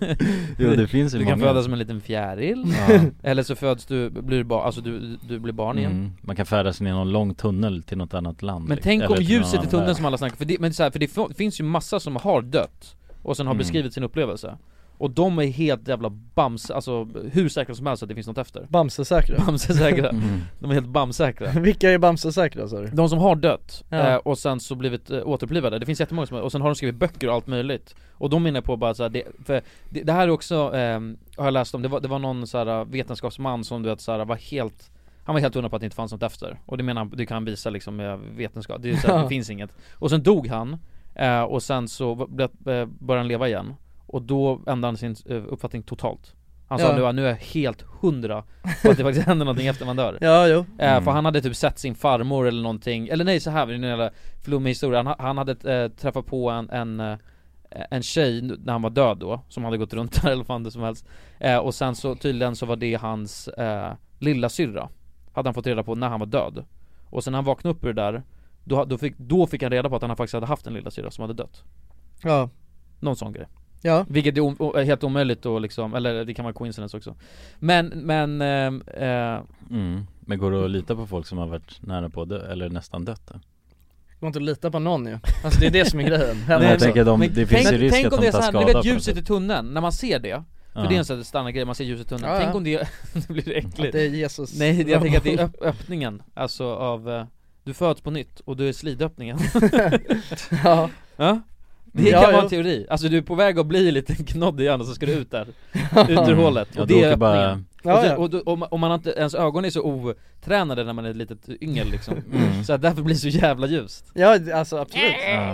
S1: jo det finns ju
S3: Du
S1: många
S3: kan födas som en liten fjäril
S1: Ja.
S3: [laughs] Eller så föds du, blir barn, alltså du, du blir barn igen
S1: Mm. Man kan färdas ner i någon lång tunnel till något annat land
S3: Men
S1: liksom.
S3: tänk
S1: Eller
S3: om
S1: till någon
S3: ljuset i
S1: annan
S3: tunneln
S1: värld.
S3: som alla snackar för det, men så här, för det f- finns ju massa som har dött och sen har
S1: Mm.
S3: beskrivit sin upplevelse Och de är helt jävla bams, alltså hur säkra som helst att det finns
S1: [laughs]
S3: något efter
S2: Bamsesäkra [laughs]
S3: Bamsesäkra, de är helt bamsäkra
S2: Vilka är Bamsesäkra sa du?
S3: De som har dött
S2: Ja.
S3: eh, och sen så blivit eh, återupplivade, det finns jättemånga som och sen har de skrivit böcker och allt möjligt Och de menar jag på bara så här, det, för det, det här är också, eh, har jag läst om, det var, det var någon så här eh, vetenskapsman som du vet så här, var helt han var helt hundra på att det inte fanns något efter, och det menar han, du kan visa liksom med vetenskap, det, är så
S2: [laughs]
S3: här, det finns inget Och sen dog han, eh, och sen så var- blev- eh, började han leva igen Och då ändrade han sin eh, uppfattning totalt Han sa
S2: Ja.
S3: nu, är- nu är jag helt hundra på att det faktiskt [laughs] händer någonting efter man dör
S2: Ja, jo.
S3: Eh,
S2: Mm.
S3: För han hade typ sett sin farmor eller någonting, eller nej så här det är en jävla flummig historia Han, han hade eh, träffat på en, en, eh, en tjej nu- när han var död då, som hade gått runt [laughs] där eller vad fan det som helst eh, Och sen så tydligen så var det hans eh, lilla syrra Hade han fått reda på när han var död Och sen när han vaknade upp ur det där då, då, fick, då fick han reda på att han faktiskt hade haft en lilla syrra som hade dött
S2: Ja
S3: Någon sån grej
S2: Ja
S3: vilket är o- o- är helt omöjligt då liksom, eller det kan vara coincidence också Men, men, ehm, eh,
S1: mm. Men går det att lita på folk som har varit nära på det eller nästan dött då?
S2: Går inte att lita på någon ju Alltså det är det som är grejen
S1: Men jag tänker de- det finns ju risk
S3: tänk
S1: att
S3: om
S1: de
S3: det är
S1: tar
S3: såhär,
S1: skada
S3: du
S1: på
S3: vet
S1: något
S3: ljuset i tunneln, när man ser det För
S1: Ja.
S3: det är en sån här standardgrej, man ser ljuset i tunneln,
S2: Ja, ja.
S3: tänk om det, [laughs] det blir äckligt
S2: Att det är Jesus
S3: Nej jag tänker att det är öpp- öppningen, alltså av, eh, du föds på nytt och du är slidöppningen
S2: [laughs]
S3: [laughs]
S2: Ja
S3: Ja det
S2: Ja,
S3: kan vara
S2: ja.
S3: en teori, alltså du är på väg att bli lite knodd igen och så ska du ut
S2: [laughs]
S3: där, ut ur
S1: Mm.
S3: hålet,
S1: Ja,
S3: och
S1: du
S3: det är
S1: åker bara-
S3: öppningen
S2: Ja, ja.
S3: Och, du, och, och, och man har inte, ens ögon är så otränade när man är ett litet yngel liksom
S1: Mm.
S3: Så att därför blir det så jävla ljust
S2: Ja alltså absolut,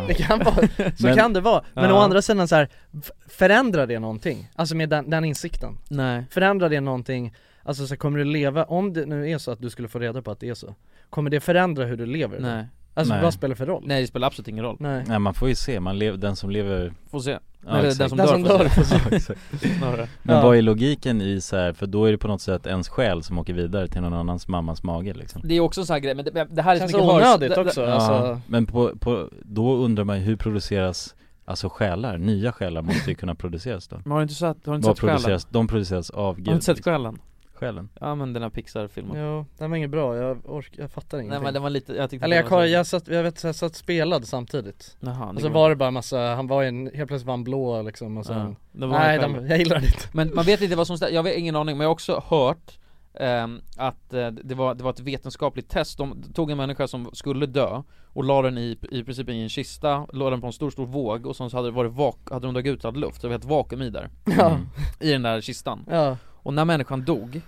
S2: det kan vara, så
S1: Men-
S2: kan det vara Men å
S3: Ja.
S2: andra sidan så här, f- förändrar det någonting? Alltså med den, den insikten?
S3: Nej
S2: Förändrar det någonting, alltså så här, kommer du leva, om det nu är så att du skulle få reda på att det är så Kommer det förändra hur du lever?
S3: Nej
S2: Alltså
S1: Nej.
S2: vad spelar det för roll?
S3: Nej det spelar absolut ingen roll
S2: Nej
S1: Nej man får ju se, man lev, den som lever
S3: Får se.
S1: Ja,
S3: Eller den [laughs]
S1: exakt.
S3: som
S2: Den
S3: dör,
S2: som dör
S3: får
S2: får
S3: se.
S1: Ja, exakt.
S3: Snarare.
S1: Men
S2: Ja.
S1: vad är logiken i så här, för då är det på något sätt ens själ som åker vidare till någon annans mammas mage liksom
S3: Det är också en sån här grej, men det, det här är
S2: Känns
S3: så mycket
S2: onödigt
S3: hörs-
S2: också,
S3: det- det-
S2: alltså
S1: Men på, på, då undrar man ju hur produceras, alltså själar, nya själar måste ju kunna produceras då
S3: Men har du inte sett, har du inte
S1: Vad
S3: sett Typ själen?
S1: produceras, de produceras av Gud
S3: Har du inte sett
S1: liksom.
S3: själen?
S1: Själen?
S3: Ja men den här Pixar-filmen
S2: Jo, den var inget bra, jag orkar, jag fattar ingenting
S3: Nej men den var lite, jag tyckte
S2: Eller jag,
S3: den var
S2: kollade,
S3: så-
S2: jag satt, jag vet, jag satt spelad samtidigt
S3: Jaha,
S2: Och så alltså, var det bara massa, han var i en, helt plötsligt var han blå liksom och sen,
S3: det var
S2: Nej,
S3: själv.
S2: den, jag gillar det inte
S3: Men man vet inte vad som stämmer, jag har ingen aning, men jag har också hört ehm, att eh, det, var, det var ett vetenskapligt test, de tog en människa som skulle dö och la den i, i princip i en kista, la den på en stor stor våg och sen så hade det varit vak- hade de dragit ut all luft, så det var ett vakuum i där
S2: Ja,
S1: Mm.
S3: I den där kistan
S2: ja,
S3: Och när människan dog,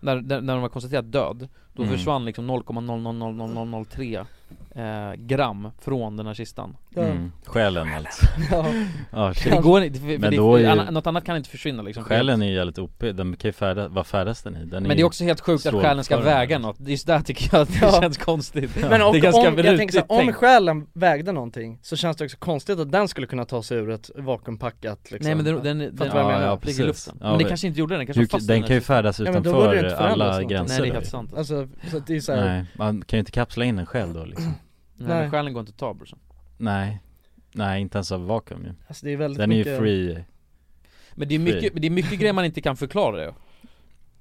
S3: när, när, när de var konstaterat död, då
S1: Mm.
S3: försvann liksom 0,0000003 eh, gram från den här kistan
S2: ja,
S1: Mm. Själen alltså
S2: ja.
S1: Ja, shit.
S3: Det går inte, för, för
S1: Men
S3: det,
S1: då är ju-
S3: anna- något annat kan inte försvinna liksom
S1: Själen är ju jävligt OP, den kan ju färdas, vad färdas den i? Den
S3: Men det är också helt sjukt att
S1: slår
S3: själen ska
S1: för den.
S3: väga något, det är just där tycker jag att det
S2: Ja.
S3: känns konstigt
S2: Men och,
S3: Det är
S2: om,
S3: ganska
S2: jag tänker så här, om
S3: tänkt.
S2: själen vägde någonting så känns det också konstigt att den skulle kunna ta sig ur ett vakuumpackat liksom
S3: Nej men den, den, den,
S2: Fattar
S3: den
S2: vad jag
S3: ja,
S2: menar?
S3: ja,
S1: Ja,
S3: ligger i
S1: precis.
S3: luften
S1: Ja,
S3: Men det
S1: vi-
S3: kanske inte gjorde den, den kanske
S1: hur,
S3: var fast i
S1: den
S3: här
S1: kan ju
S3: kistan.
S1: färdas
S2: Ja, men då borde
S1: utanför
S2: det inte förändras
S1: alla
S2: någonting.
S1: gränser
S3: Nej det är helt
S1: liksom.
S3: sant alltså.
S2: Alltså, så att det är så här,
S1: Nej, man kan ju inte kapsla in en själ då liksom
S3: Nej,
S2: Nej.
S3: men själen går inte att ta brorsan
S1: Nej Nej inte ens av vakuum ju
S2: alltså det är väldigt
S1: Den är ju
S2: mycket
S1: free
S3: Men det är mycket, men det är mycket grejer man inte kan förklara det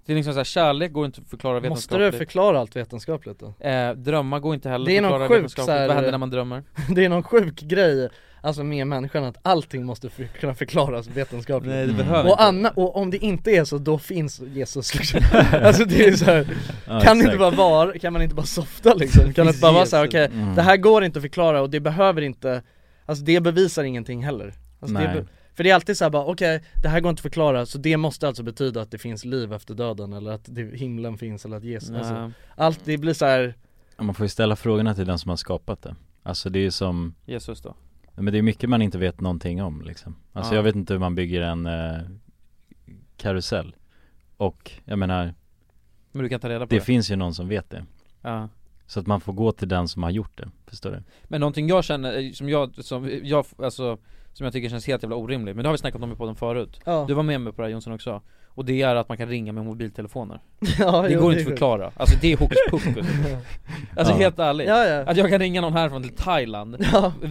S3: Det är liksom såhär, kärlek går inte att förklara
S2: Måste du
S3: vetenskapligt
S2: förklara allt vetenskapligt då? [laughs]
S3: Eh, drömmar går inte heller
S2: Det är någon
S3: förklara
S2: sjuk
S3: vetenskapligt.
S2: så här-
S3: Vad händer när man drömmer?
S2: Det är någon sjuk grej, alltså med människan att allting måste för, kunna förklaras vetenskapligt
S3: Nej det
S1: Mm.
S3: behöver
S2: och,
S3: inte
S2: Anna, och om det inte är så, då finns
S3: [laughs]
S2: Jesus liksom [laughs] Alltså det är så här,
S1: [laughs] Ja,
S2: [laughs] kan det
S1: exakt.
S2: inte bara vara, kan man inte bara softa liksom? Kan det inte bara vara såhär, okej,
S1: Mm.
S2: det här går inte att förklara och det behöver inte, alltså det bevisar ingenting heller alltså, det
S1: Nej.
S2: be- För det är alltid såhär bara, okej, det här går inte att förklara så det måste alltså betyda att det finns liv efter döden eller att det, himlen finns eller att Jesus, alltså, [laughs]
S3: Nej,
S2: allt det blir så här.
S1: Ja, Man får ju ställa frågorna till den som har skapat det Alltså det är ju som,
S3: Jesus då
S1: Men det är mycket man inte vet någonting om liksom Alltså
S3: Ja.
S1: jag vet inte hur man bygger en eh, karusell Och jag menar
S3: Men du kan ta reda på
S1: Det
S3: det.
S1: finns ju någon som vet det
S3: Ja.
S1: Så att man får gå till den som har gjort det, förstår du?
S3: Men någonting jag känner, eh, som jag, som jag, alltså Som jag tycker känns helt jävla orimligt, men det har vi snackat om i podden förut
S2: Ja.
S3: Du var med mig på det här Jonsson också Och det är att man kan ringa med mobiltelefoner
S2: Ja,
S3: Det
S2: jo,
S3: går inte
S2: det
S3: att
S2: är sjukt.
S3: förklara, alltså det är hokus pokus Alltså
S2: [laughs] Ja.
S3: helt ärligt,
S2: Ja, ja.
S3: att jag kan ringa någon härifrån till Thailand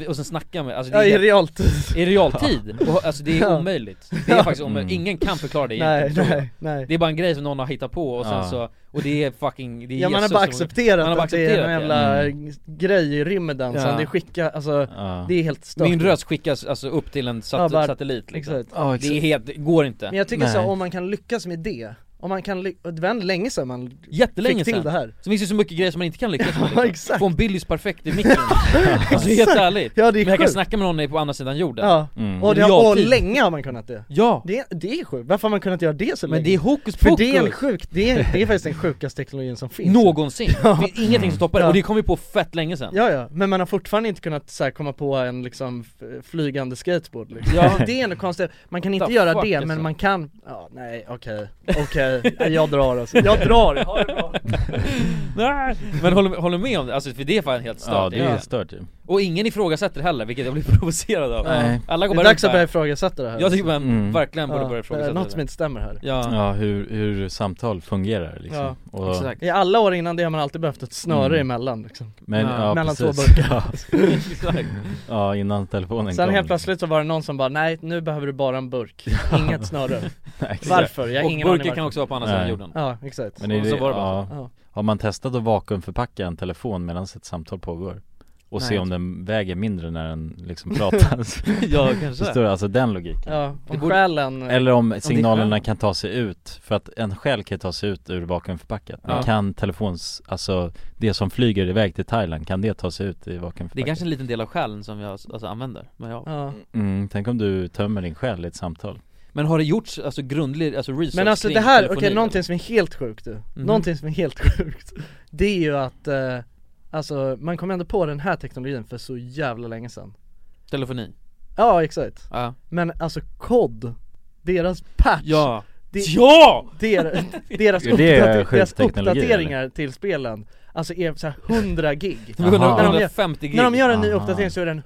S3: och sen snacka med, alltså
S2: Ja, i
S3: helt-
S2: realtid.
S3: I realtid! Och, alltså det är
S2: Ja.
S3: omöjligt, det är
S2: Ja.
S3: faktiskt omöjligt,
S2: Mm.
S3: ingen kan förklara det
S2: Nej,
S3: egentligen, tror jag.
S2: nej, nej.
S3: Det är bara en grej som någon har hittat på och sen
S2: Ja.
S3: så, och det är fucking, det är
S2: Ja man har
S3: Jesus
S2: bara
S3: som-
S2: accepterat
S3: man har bara
S2: att det är en
S3: accepterat
S2: jävla
S3: Mm.
S2: grej i rymden
S3: Ja.
S2: som det skickar, alltså det är helt stört
S3: Min röst skickas alltså upp till en sat-
S2: Ja, bara-
S3: satellit liksom.
S2: exakt. Ja,
S3: Det är
S2: exakt.
S3: helt, det går inte
S2: Men jag tycker så, om man kan lyckas med det, om man kan, ly- och det var ändå länge sedan man
S3: Jättelänge
S2: fick till
S3: sedan.
S2: det här
S3: Så finns det så mycket grejer som man inte kan lyckas med liksom.
S2: exakt.
S3: Få en Billys perfekt i
S2: [laughs]
S3: micken Alltså helt
S2: Exakt.
S3: ärligt
S2: Ja, det är
S3: Men jag kan
S2: sjukt.
S3: snacka med någon på andra sidan jorden
S2: Ja,
S1: Mm.
S2: och, det
S3: I
S2: har, och
S3: realtid.
S2: länge har man kunnat det
S3: Ja!
S2: Det, det är sjukt, varför har man kunnat göra det så
S3: Men
S2: länge?
S3: det är hokus
S2: För det är, en
S3: pokus.
S2: sjuk, det, är, det är faktiskt den sjukaste teknologin som finns
S3: Någonsin! Det finns ingenting som toppar det,
S2: Ja.
S3: och det kom ju på fett länge sedan
S2: Ja ja, men man har fortfarande inte kunnat så här, komma på en liksom f- flygande skateboard liksom.
S3: Ja.
S2: alltså, Det är ändå konstigt, man kan inte
S3: The
S2: göra
S3: fuck,
S2: det
S3: alltså.
S2: men man kan, ja nej okej, okej, jag drar alltså. Jag drar, ha det bra!
S3: [laughs] Nej. Men håller, håller med om det, alltså för det är fan helt stört
S1: Ja, det är stört ju.
S3: Och ingen ifrågasätter heller, vilket jag blir [laughs] provocerad av
S1: Nej.
S3: Alla går
S2: det är
S3: bara
S2: dags
S3: runt
S2: att
S3: där.
S2: börja ifrågasätta det här
S3: Jag tycker man
S1: Mm.
S3: verkligen borde
S2: Ja,
S3: börja
S2: det är
S3: ifrågasätta
S2: något
S3: det
S2: som inte stämmer här
S3: Ja,
S1: Ja, hur, hur samtal fungerar liksom
S2: Ja,
S1: Och-
S2: exakt. I alla år innan det har man alltid behövt ett snöre
S1: Mm.
S2: emellan liksom.
S1: Men, ja,
S2: Mellan två
S1: precis.
S2: burkar
S1: [laughs]
S3: [laughs]
S1: Ja. Ja, innan telefonen
S2: Sen
S1: kom
S2: helt plötsligt så var det någon som bara nej nu behöver du bara en [laughs] burk, inget snöre
S1: [laughs] exakt.
S2: Varför? Jag har
S3: Och
S2: ingen aning
S3: burken kan
S2: varför.
S3: också vara på andra sidan
S1: Nej.
S3: jorden
S2: Ja exakt
S1: Men är det,
S3: Alltså, Så var det bara
S1: ja,
S3: så. Ja.
S1: Har man testat att vakuumförpacka en telefon medan ett samtal pågår? Och
S3: Nej,
S1: se
S3: jag
S1: om den väger mindre när den
S3: [laughs]
S1: liksom pratas
S3: [laughs] Ja, kanske.
S1: Förstår du? Alltså den logiken
S2: Ja, om
S3: borde-
S2: själen
S1: Eller om
S3: det är
S1: signalerna
S3: själ.
S1: kan ta sig ut, för att en själ kan ta sig ut ur vakuumförpackat Men
S3: Ja.
S1: kan telefons, alltså det som flyger iväg till Thailand, kan det ta sig ut i
S3: Det är
S1: vakuumförpackat?
S3: kanske en liten del av själen som jag alltså, använder, men jag
S2: Ja.
S1: Mm, tänk om du tömmer din själ i ett samtal
S3: Men har det gjorts alltså grundlig alltså research
S2: Men alltså
S3: kring
S2: det här, okej
S3: telefoni?
S2: någonting som är helt sjukt du, någonting som är helt [laughs] sjukt Det är ju att, eh, alltså man kom ändå på den här teknologin för så jävla länge sedan
S3: Telefoni?
S2: Ja exakt,
S3: Ja.
S2: men alltså COD, deras patch
S3: Ja.
S2: det-
S3: Ja! [laughs]
S2: Der,
S1: Är
S2: deras,
S1: det
S2: uppdater- deras
S1: skyddsteknologi,
S2: uppdateringar till spelen Alltså är såhär 100 gig
S1: Jaha.
S3: 150 gig.
S2: När de gör en ny
S1: Aha.
S2: uppdatering så är den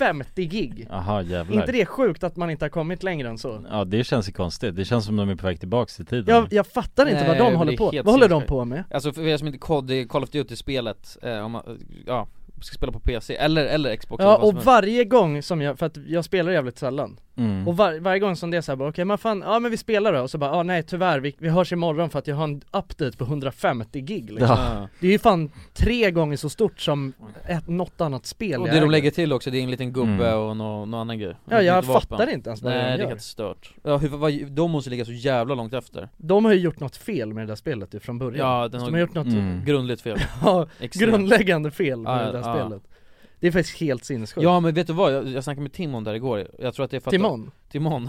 S2: 150 gig
S1: Jaha jävlar
S2: inte det sjukt att man inte har kommit längre än så?
S1: Ja det känns ju konstigt, det känns som de är på väg tillbaks i tiden
S2: Jag, jag fattar inte vad
S3: Nej,
S2: de
S3: det
S2: håller
S3: är
S2: på
S3: helt
S2: Vad håller de
S3: sinnessjukt.
S2: på med?
S3: Alltså för er som inte kod, det är Call of Duty-spelet, eh, om man, ja, ska spela på PC, eller, eller Xbox
S2: Ja
S3: eller vad
S2: och
S3: som helst.
S2: varje gång som jag, för att jag spelar jävligt sällan
S1: Mm.
S2: Och var, varje gång som det är såhär, okej men fan, ja men vi spelar då, och så bara, ah, nej tyvärr, vi, vi hörs imorgon för att jag har en update på 150 gig liksom.
S3: Ja.
S2: Det är ju fan tre gånger så stort som ett, något annat spel
S3: Och
S2: jag
S3: det de
S2: äger.
S3: lägger till också, det är en liten gubbe
S1: Mm.
S3: och någon nå annan grej
S2: Ja, jag
S3: Ett litet vapen.
S2: fattar inte ens vad de
S3: Nej det
S2: gör.
S3: är helt stört Ja, hur, vad, de måste ligga så jävla långt efter
S2: De har ju gjort något fel med det där spelet ju från början
S3: Ja, den
S2: Så
S3: har,
S2: De har gjort något
S1: Mm.
S3: grundligt fel
S2: [laughs] ja,
S3: Extremt.
S2: grundläggande fel med
S3: Ja,
S2: det där
S3: ja.
S2: spelet Det är faktiskt helt sinnessjukt
S3: Ja men vet du vad, jag, jag snackade med Timon där igår, jag tror att det är för att
S2: Timon?
S3: Timon,
S2: [laughs]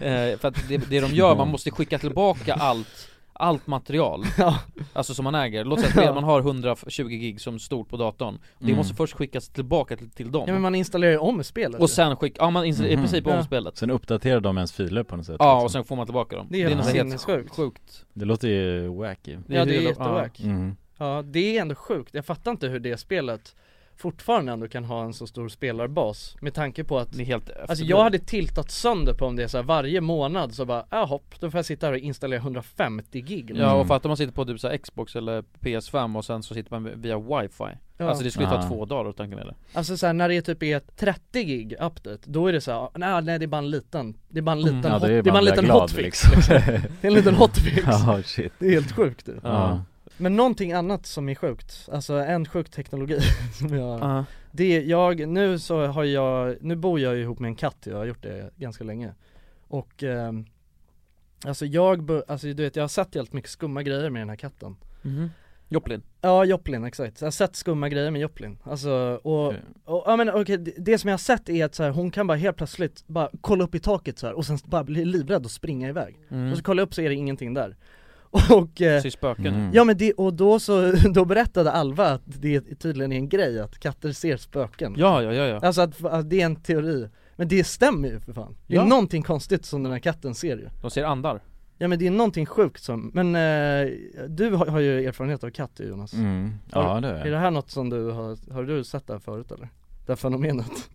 S3: eh, för att det, det de gör, man måste skicka tillbaka allt Allt material,
S2: [laughs] Ja.
S3: alltså som man äger, låt säga att spel-
S2: Ja.
S3: man har 120 gig som stort på datorn Det
S1: Mm.
S3: måste först skickas tillbaka till, till dem
S2: Ja men man installerar ju om spelet
S3: Och
S2: ju.
S3: sen skicka, ja man inser, i
S1: Mhm.
S3: princip
S2: Ja.
S3: om spelet
S1: Sen uppdaterar de ens filer på något sätt
S3: Ja
S1: liksom.
S3: och sen får man tillbaka dem
S2: Det är
S3: något
S2: helt
S3: helt
S2: sinnessjukt
S3: sjukt
S1: Det låter ju wacky
S2: Ja det är
S3: helt-
S2: jättewack
S1: mm.
S2: Ja det är ändå sjukt, jag fattar inte hur det spelet fortfarande ändå kan ha en så stor spelarbas med tanke på att
S3: Det är helt
S2: Alltså jag hade tiltat sönder på om det är så här, varje månad så bara, ah hopp, då får jag sitta här och installera 150 gig liksom.
S3: Ja och fatta om man sitter på typ så här Xbox eller PS5 och sen så sitter man via wifi
S2: Ja.
S3: Alltså det skulle ta
S1: Ah.
S3: två dagar att tanka ner det
S2: Alltså så här, när det är typ är 30 gig update, då är det så här, nej, nej det är bara en liten, det är bara en liten,
S1: Mm. Ja,
S2: hot,
S1: då är
S2: det är
S1: man
S2: bara en
S1: väl
S2: liten
S1: glad,
S2: hotfix [laughs]
S1: liksom.
S2: liksom. Det är
S1: [laughs]
S2: en liten hotfix
S1: Ja shit
S2: Det är helt sjukt det.
S1: Ja.
S2: Men någonting annat som är sjukt, alltså en sjuk teknologi [laughs] som jag Det, jag, nu så har jag, nu bor jag ju ihop med en katt, jag har gjort det ganska länge Och ehm, Alltså jag, bör- alltså du vet jag har sett helt mycket skumma grejer med den här katten
S3: Mhm. Joplin
S2: Ja Joplin, exakt. Jag har sett skumma grejer med Joplin, alltså och, och ja men okej, det, det som jag har sett är att så här, hon kan bara helt plötsligt bara kolla upp i taket så här och sen bara bli livrädd och springa iväg
S3: Mm.
S2: Och så kolla upp så är det ingenting där [laughs] Och, eh,
S3: Så är spöken. Mm.
S2: Ja men det, och då så, [laughs] då berättade Alva att det tydligen är en grej att katter ser spöken
S3: Ja, ja, ja, ja.
S2: Alltså att, att det är en teori, men det stämmer ju för fan Det är
S3: Ja.
S2: någonting konstigt som den här katten ser ju
S3: De ser andar.
S2: Ja men det är någonting sjukt som, men eh, du har, har ju erfarenhet av katter Jonas
S1: Mm. Ja, det har jag.
S2: Är det här något som du har, har du sett det här förut eller? Det
S3: [laughs]
S2: här fenomenet?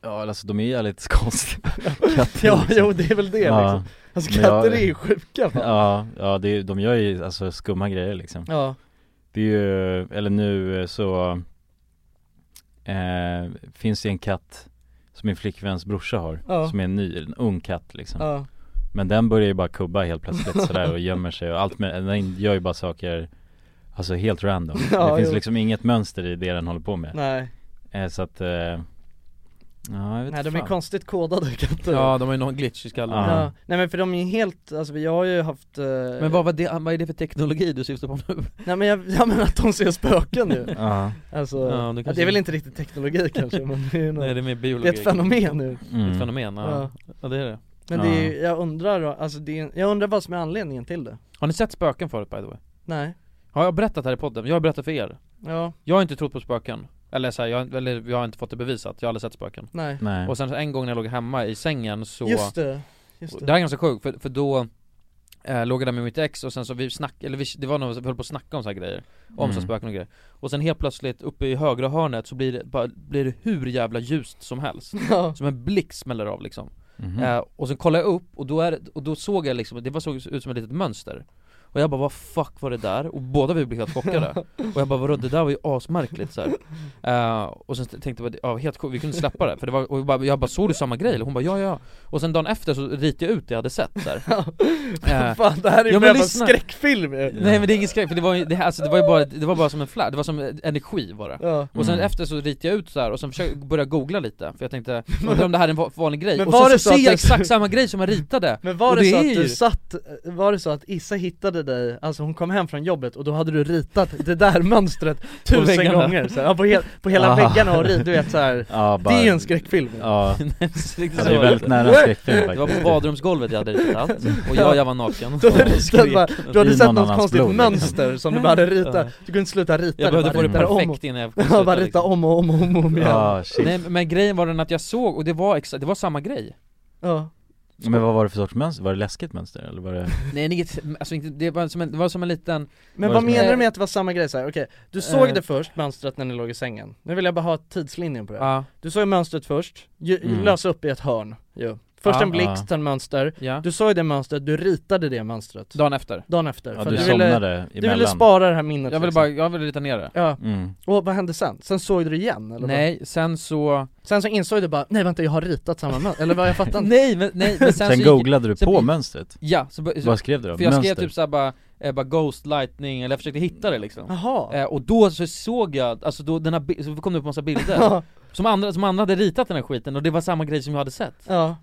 S1: Ja alltså de är ju lite
S2: [laughs]
S1: konstiga Katter,
S2: ja,
S3: Alltså,
S1: liksom.
S2: jo det är väl det liksom Alltså
S1: Men
S2: katter
S1: jag-
S2: är ju sjuka fan.
S1: Ja, ja det, är- de gör ju alltså skumma grejer liksom
S2: Ja.
S1: Det är ju, eller nu eh, så eh, Finns det en katt som min flickväns brorsa har
S2: Ja.
S1: Som är en ny, en ung katt liksom
S2: Ja.
S1: Men den börjar ju bara kubba helt
S2: [laughs]
S1: plötsligt sådär och gömmer sig och allt med, den gör ju bara saker Alltså helt random
S2: [laughs] Ja,
S1: Det finns
S2: jo.
S1: liksom inget mönster i det den håller på med
S2: Nej.
S1: eh, Så att eh, Ja jag vet
S2: Nej de
S1: fan.
S2: är konstigt kodade katter
S3: Ja, de har ju någon glitch i skallen.
S1: Ja.
S2: Ja, nej men för de är ju helt, alltså jag har ju haft eh,
S3: Men vad, var det, vad är det för teknologi du syftar på nu?
S2: Nej men jag, [laughs] jag menar att de ser spöken ju
S1: Ja.
S2: Alltså,
S3: Ja, det [laughs]
S2: ja, det,
S3: kanske-
S2: är väl inte
S3: [laughs]
S2: riktigt teknologi kanske men det är, något,
S3: Nej det är mer
S2: det
S3: biologi
S2: är ett fenomen nu
S3: Det
S1: Mm.
S3: är ett fenomen, ja.
S2: Ja.
S3: ja det är det
S2: Men det är, jag undrar då, alltså det är, jag undrar vad som är anledningen till det
S3: Har ni sett spöken förut by the way?
S2: Nej,
S3: Har jag berättat här i podden? Jag har berättat för er
S2: ja,
S3: Jag har inte trott på spöken Eller så här, jag, eller, jag har inte fått det bevisat, jag har aldrig sett spöken
S2: nej
S1: Nej
S3: Och sen en gång när jag låg hemma i sängen så
S2: Just det, just
S3: det.
S2: det,
S3: här är ganska sjukt, för, för då eh, låg jag där med mitt ex och sen så vi snackade, eller vi, det var nog, vi höll på att snacka om så här grejer Om så här
S1: Mm.
S3: spöken och grejer Och sen helt plötsligt uppe i högra hörnet så blir det, bara, blir det hur jävla ljust som helst
S2: [laughs] ja,
S3: Som en blixt smäller av liksom
S1: Mhm.
S2: Mm.
S3: Eh, och sen kollade jag upp och då, är, det- och då såg jag liksom, det var, såg ut som ett litet mönster Och jag bara vad fuck var det där? Och båda vi blev helt
S2: [laughs]
S3: chockade Och jag bara vadå det där var ju asmärkligt så här. Eh, Och sen tänkte jag, bara, ja, helt sjukt, vi kunde inte släppa det för det var, och jag bara, jag bara såg du samma grej? eller? Hon bara ja ja Och sen dagen efter så ritade jag ut det jag hade sett
S2: [laughs]
S3: så här. Eh,
S2: Fan det här är ju
S3: ja,
S2: ja,
S3: men
S2: en
S3: lyssna.
S2: skräckfilm ju
S3: Nej men det är ingen skräck för det var ju, det, här- alltså, det var ju bara, det var bara som en flash, det var som energi var det
S2: Ja.
S3: och sen
S1: Mm.
S3: efter så ritade jag ut så här och sen försökte, började jag googla lite, för jag
S2: [laughs]
S3: tänkte undrar om det här är en va- vanlig grej,
S2: Men
S3: och
S2: var
S3: sen
S2: det
S3: så
S2: så
S3: ser
S2: att
S3: jag
S2: du-
S3: exakt samma grej som jag ritade
S2: Men
S3: Och
S2: var det,
S3: det
S2: så
S3: är
S2: att
S3: ju-
S2: du satt, var det så att Issa hittade dig, alltså hon kom hem från jobbet och då hade du ritat det där mönstret tusen
S3: väggarna.
S2: gånger så här, ja, på, hel, på hela
S1: Ah.
S2: väggarna och rit, du vet så här.
S1: ja,
S2: Det är ju en skräckfilm ju. [laughs]
S1: Ja,
S3: Nej, så [laughs] riktigt
S1: ja
S3: så
S1: det är
S3: var det
S1: väldigt
S3: inte.
S1: nära en skräckfilm
S3: Det var
S1: faktiskt
S3: på badrumsgolvet jag hade ritat,
S2: [laughs]
S3: och jag, jag var naken
S2: Du hade,
S3: och
S2: ritat, bara, du hade
S1: I
S2: sett
S1: någon
S2: något
S1: annans
S2: konstigt
S1: blod, liksom.
S2: mönster som du bara hade ritat,
S3: Ja.
S2: du kunde inte sluta rita
S3: Jag behövde
S2: bara
S3: få det
S2: ritade om och-
S3: perfekt innan jag fick
S2: [laughs] Ja,
S3: sluta,
S2: bara rita
S3: liksom.
S2: om och om och om, och om igen
S1: Ja, shit
S3: Nej men grejen var den att jag såg, och det var exakt, det var samma grej
S2: ja.
S1: Men vad var det för sorts mönster? Var det läskigt mönster eller var det?
S3: Nej inget, alltså inte, det var som en, det var som en liten
S2: Men
S1: Vad
S2: vad
S1: som är-
S2: menar du med att det var samma grej så här? okej, du såg
S3: Eh.
S2: det först, mönstret när ni låg i sängen Nu vill jag bara ha tidslinjen på det
S3: ja,
S2: Du såg mönstret först, ju,
S1: Mm.
S2: lös upp i ett hörn ju. Först
S3: Ja,
S2: en blixt,
S1: ja.
S2: sen mönster
S3: ja,
S2: Du såg det mönstret, du ritade det mönstret
S3: dagen efter
S2: Dagen efter,
S1: Ja,
S2: för
S1: du
S2: att ville,
S1: somnade
S2: du
S1: emellan
S2: ville spara det här minnet
S3: Jag ville
S2: liksom.
S3: bara, jag ville rita ner det
S2: Ja,
S1: mm.
S2: och vad hände sen? Sen såg du det igen eller? vad?
S3: Nej, sen så...
S2: Sen så insåg du bara, nej vänta jag har ritat samma mönster, eller vad jag fattar [laughs] inte
S3: Nej men, nej, men sen,
S1: Sen
S3: så
S1: googlade du
S3: sen-
S1: på mönstret?
S3: Ja, så, bör- så
S1: Vad skrev du då?
S3: för jag skrev
S1: Mönster?
S3: typ såhär bara, eh, bara ghost lightning, eller jag försökte hitta det liksom
S2: Jaha
S3: Eh, och då så såg jag, alltså då den här, bi- så kom det upp massa bilder
S2: [laughs] Ja,
S3: som andra, som andra hade ritat den här skiten och det var samma grej som jag hade sett
S2: ja,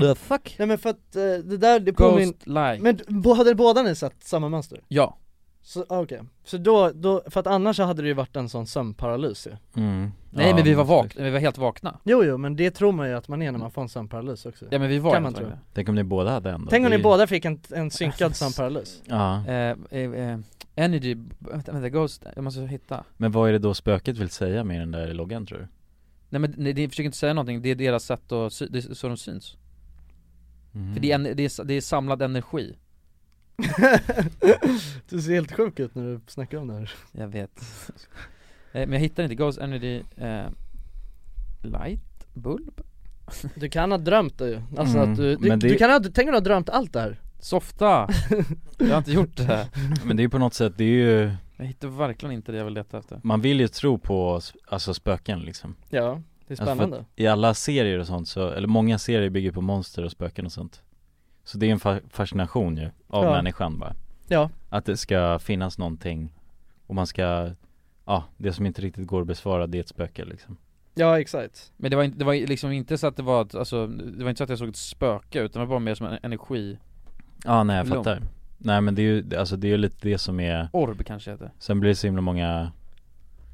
S3: The fuck?
S2: nej men för att eh, det där, det påminner
S3: Ghost like
S2: Men bo- hade båda ni sett samma mönster?
S3: Ja,
S2: Så, ah, okej, så då, då, för att annars så hade det ju varit en sån sömnparalys ju
S1: mm.
S3: typ- nej
S1: Ja,
S3: men vi var
S1: mönstret.
S3: vakna, vi var helt vakna
S2: Jo jo, men det tror man ju att man är när man får en sömnparalys också
S3: Ja men vi var
S2: Kan
S3: helt
S2: man
S3: vakna.
S1: Tänk om ni båda hade en då?
S2: Tänk om
S1: Det är
S2: ni
S1: ju-
S2: båda fick en, en synkad
S3: Alltså.
S2: sömnparalys [laughs]
S1: Ja,
S3: eh, eh, eh, Energy, vänta, vänta, ghost, jag måste hitta
S1: men vad är det då spöket vill säga med den där loggan tror du?
S3: Nej men nej, de försöker inte säga någonting, det är deras sätt att, sy- det är så de syns
S1: Mm.
S3: För det är, en, det, är, det är samlad energi
S2: Du ser helt sjuk ut när du snackar om det här
S3: Jag vet [laughs] eh, Men jag hittar inte, ghost energy eh, light, bulb,
S2: Du kan ha drömt det ju, alltså
S1: Mm,
S2: att du, du,
S1: men det-
S2: du kan ha, du, tänk om du har drömt allt det här [laughs]
S3: softa Jag har inte gjort det här
S1: Men det är ju på något sätt, det är ju,
S3: Jag hittar verkligen inte det jag vill leta efter
S1: man vill ju tro på s- alltså spöken liksom
S2: Ja, det är
S1: Alltså, för att-
S2: spännande
S1: I alla serier och sånt så, eller många serier bygger på monster och spöken och sånt Så det är en fa- fascination ju, av
S2: Ja.
S1: människan bara
S2: Ja,
S1: Att det ska finnas någonting och man ska, ja, det som inte riktigt går att besvara det är ett spöke liksom
S2: ja exakt
S3: Men det var, inte- det var liksom inte så att det var, ett- alltså, det var inte så att jag såg ett spöke utan det var bara mer som en energiorb
S1: Ja nej jag
S3: Lång.
S1: fattar Nej men det är ju, alltså det är ju lite det som är,
S3: kanske heter
S1: sen blir det så himla många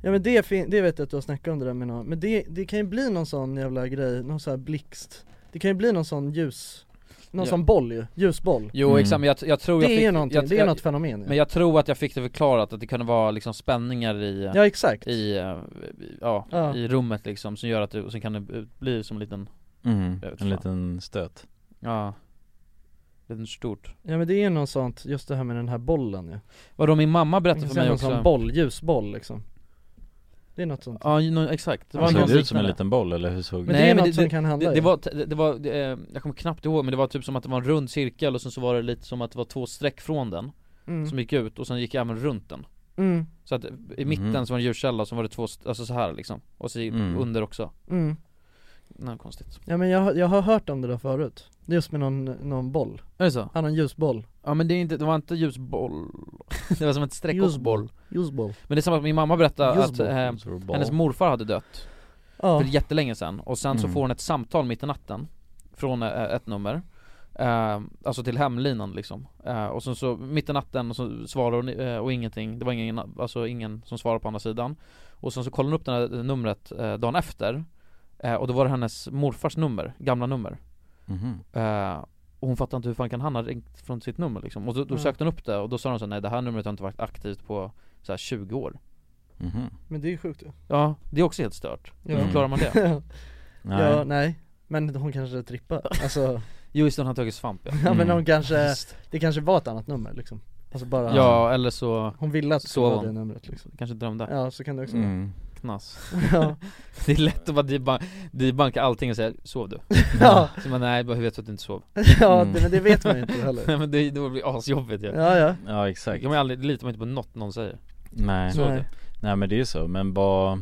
S2: Ja men det, fin- det vet jag att du har snackat om det där med någon, men det, det kan ju bli någon sån jävla grej, någon sån här blixt Det kan ju bli någon sån ljus någon
S3: Ja.
S2: sån boll ju, ljusboll
S3: Jo
S1: Mm.
S3: exakt, men jag, jag tror
S2: Det
S3: jag
S2: är
S3: fick,
S2: ju någonting,
S3: jag,
S2: det är
S3: jag,
S2: något fenomen ju.
S3: Men jag tror att jag fick det förklarat att det kunde vara liksom spänningar i
S2: Ja, exakt.
S3: I, eh, ja,
S2: Ja.
S3: i rummet liksom som gör att det, och sen kan det bli som en liten
S1: Mm,
S3: jag vet
S1: en
S3: fan.
S1: liten stöt
S3: Ja Liten stort
S2: Ja men det är ju något sånt, just det här med den här bollen ju
S3: Vadå min mamma berättade för
S2: Sen
S3: mig
S2: någon
S3: också
S2: sån boll, ljusboll liksom Det är något sånt
S3: Ja, ju- nå- exakt
S2: Ja,
S1: Såg
S3: någon
S1: Alltså, det ut som en
S3: liknande.
S1: liten boll eller hur såg
S2: Men det är något som kan hända
S3: det, det
S2: ju.
S3: var, det, det var det, eh, jag kommer knappt ihåg men det var typ som att det var en rund cirkel och sen så var det lite som att det var två streck från den
S2: Mm.
S3: Som gick ut och sen gick även runt den
S2: Mm.
S3: Så att eh, i mitten
S2: Mhm.
S3: så var det en ljuskälla som var det två, st- alltså så här liksom Och så
S2: Mm.
S3: under också
S2: Mm.
S3: Nej, konstigt
S2: Ja men jag, jag har hört om det där förut, Det är just med någon, någon boll
S3: Är det så?
S2: Ja någon ljusboll
S3: Ja men det, är inte, det var inte ljusboll [laughs] Det var som ett streck och
S2: Ljusboll.
S3: boll
S2: Ljusboll
S3: Men det är samma som min mamma berättade att
S2: Ljusboll.
S3: eh,
S2: Ljusboll.
S3: hennes morfar hade dött
S2: Ja.
S3: För jättelänge sedan, och sen så
S2: Mm.
S3: får hon ett samtal mitt i natten Från eh, ett nummer eh, Alltså till hemlinan liksom eh, Och sen så mitt i natten så svarar hon eh, och ingenting Det var ingen, alltså ingen som svarade på andra sidan Och sen så kollar hon upp det här numret eh, dagen efter eh, Och då var det hennes morfars nummer, gamla nummer
S1: Mhm.
S3: Eh, och hon fattade inte hur fan kan han ha ringt från sitt nummer liksom. Och då, då
S2: Ja.
S3: sökte hon upp det och då sa de så här, nej det här numret har inte varit aktivt på så här 20 år
S1: mhm.
S2: Men det är ju sjukt ju
S3: Ja, det är också helt stört. Hur förklarar man
S2: [laughs]
S3: det?
S2: nej. Ja, nej Men hon kanske trippar, alltså
S3: Jo just det, hon har tagit svamp ja.
S2: [laughs]
S1: Mm.
S2: Ja men hon kanske, det kanske var ett annat nummer liksom Alltså bara
S3: Ja eller så
S2: Hon ville att det skulle
S3: sov
S2: vara det
S3: hon.
S2: numret liksom
S3: Kanske drömde
S2: Ja så kan det också
S1: Mm.
S3: Knas
S2: Ja.
S3: [laughs] Det är lätt att bara debanka, debanka allting och säga 'sov du'
S2: [laughs] Ja.
S3: Så man, nej, bara, hur vet du att du inte sov?
S2: Ja,
S1: Mm.
S2: det- men det vet man ju
S3: [laughs]
S2: inte heller.
S3: Nej men det, då blir det asjobbigt ju
S2: Ja, ja.
S1: Ja, exakt.
S3: Det kan man ju aldrig, litar man inte på något någon säger
S1: Nej.
S3: Sov du?
S1: Nej. men det är ju så, men vad,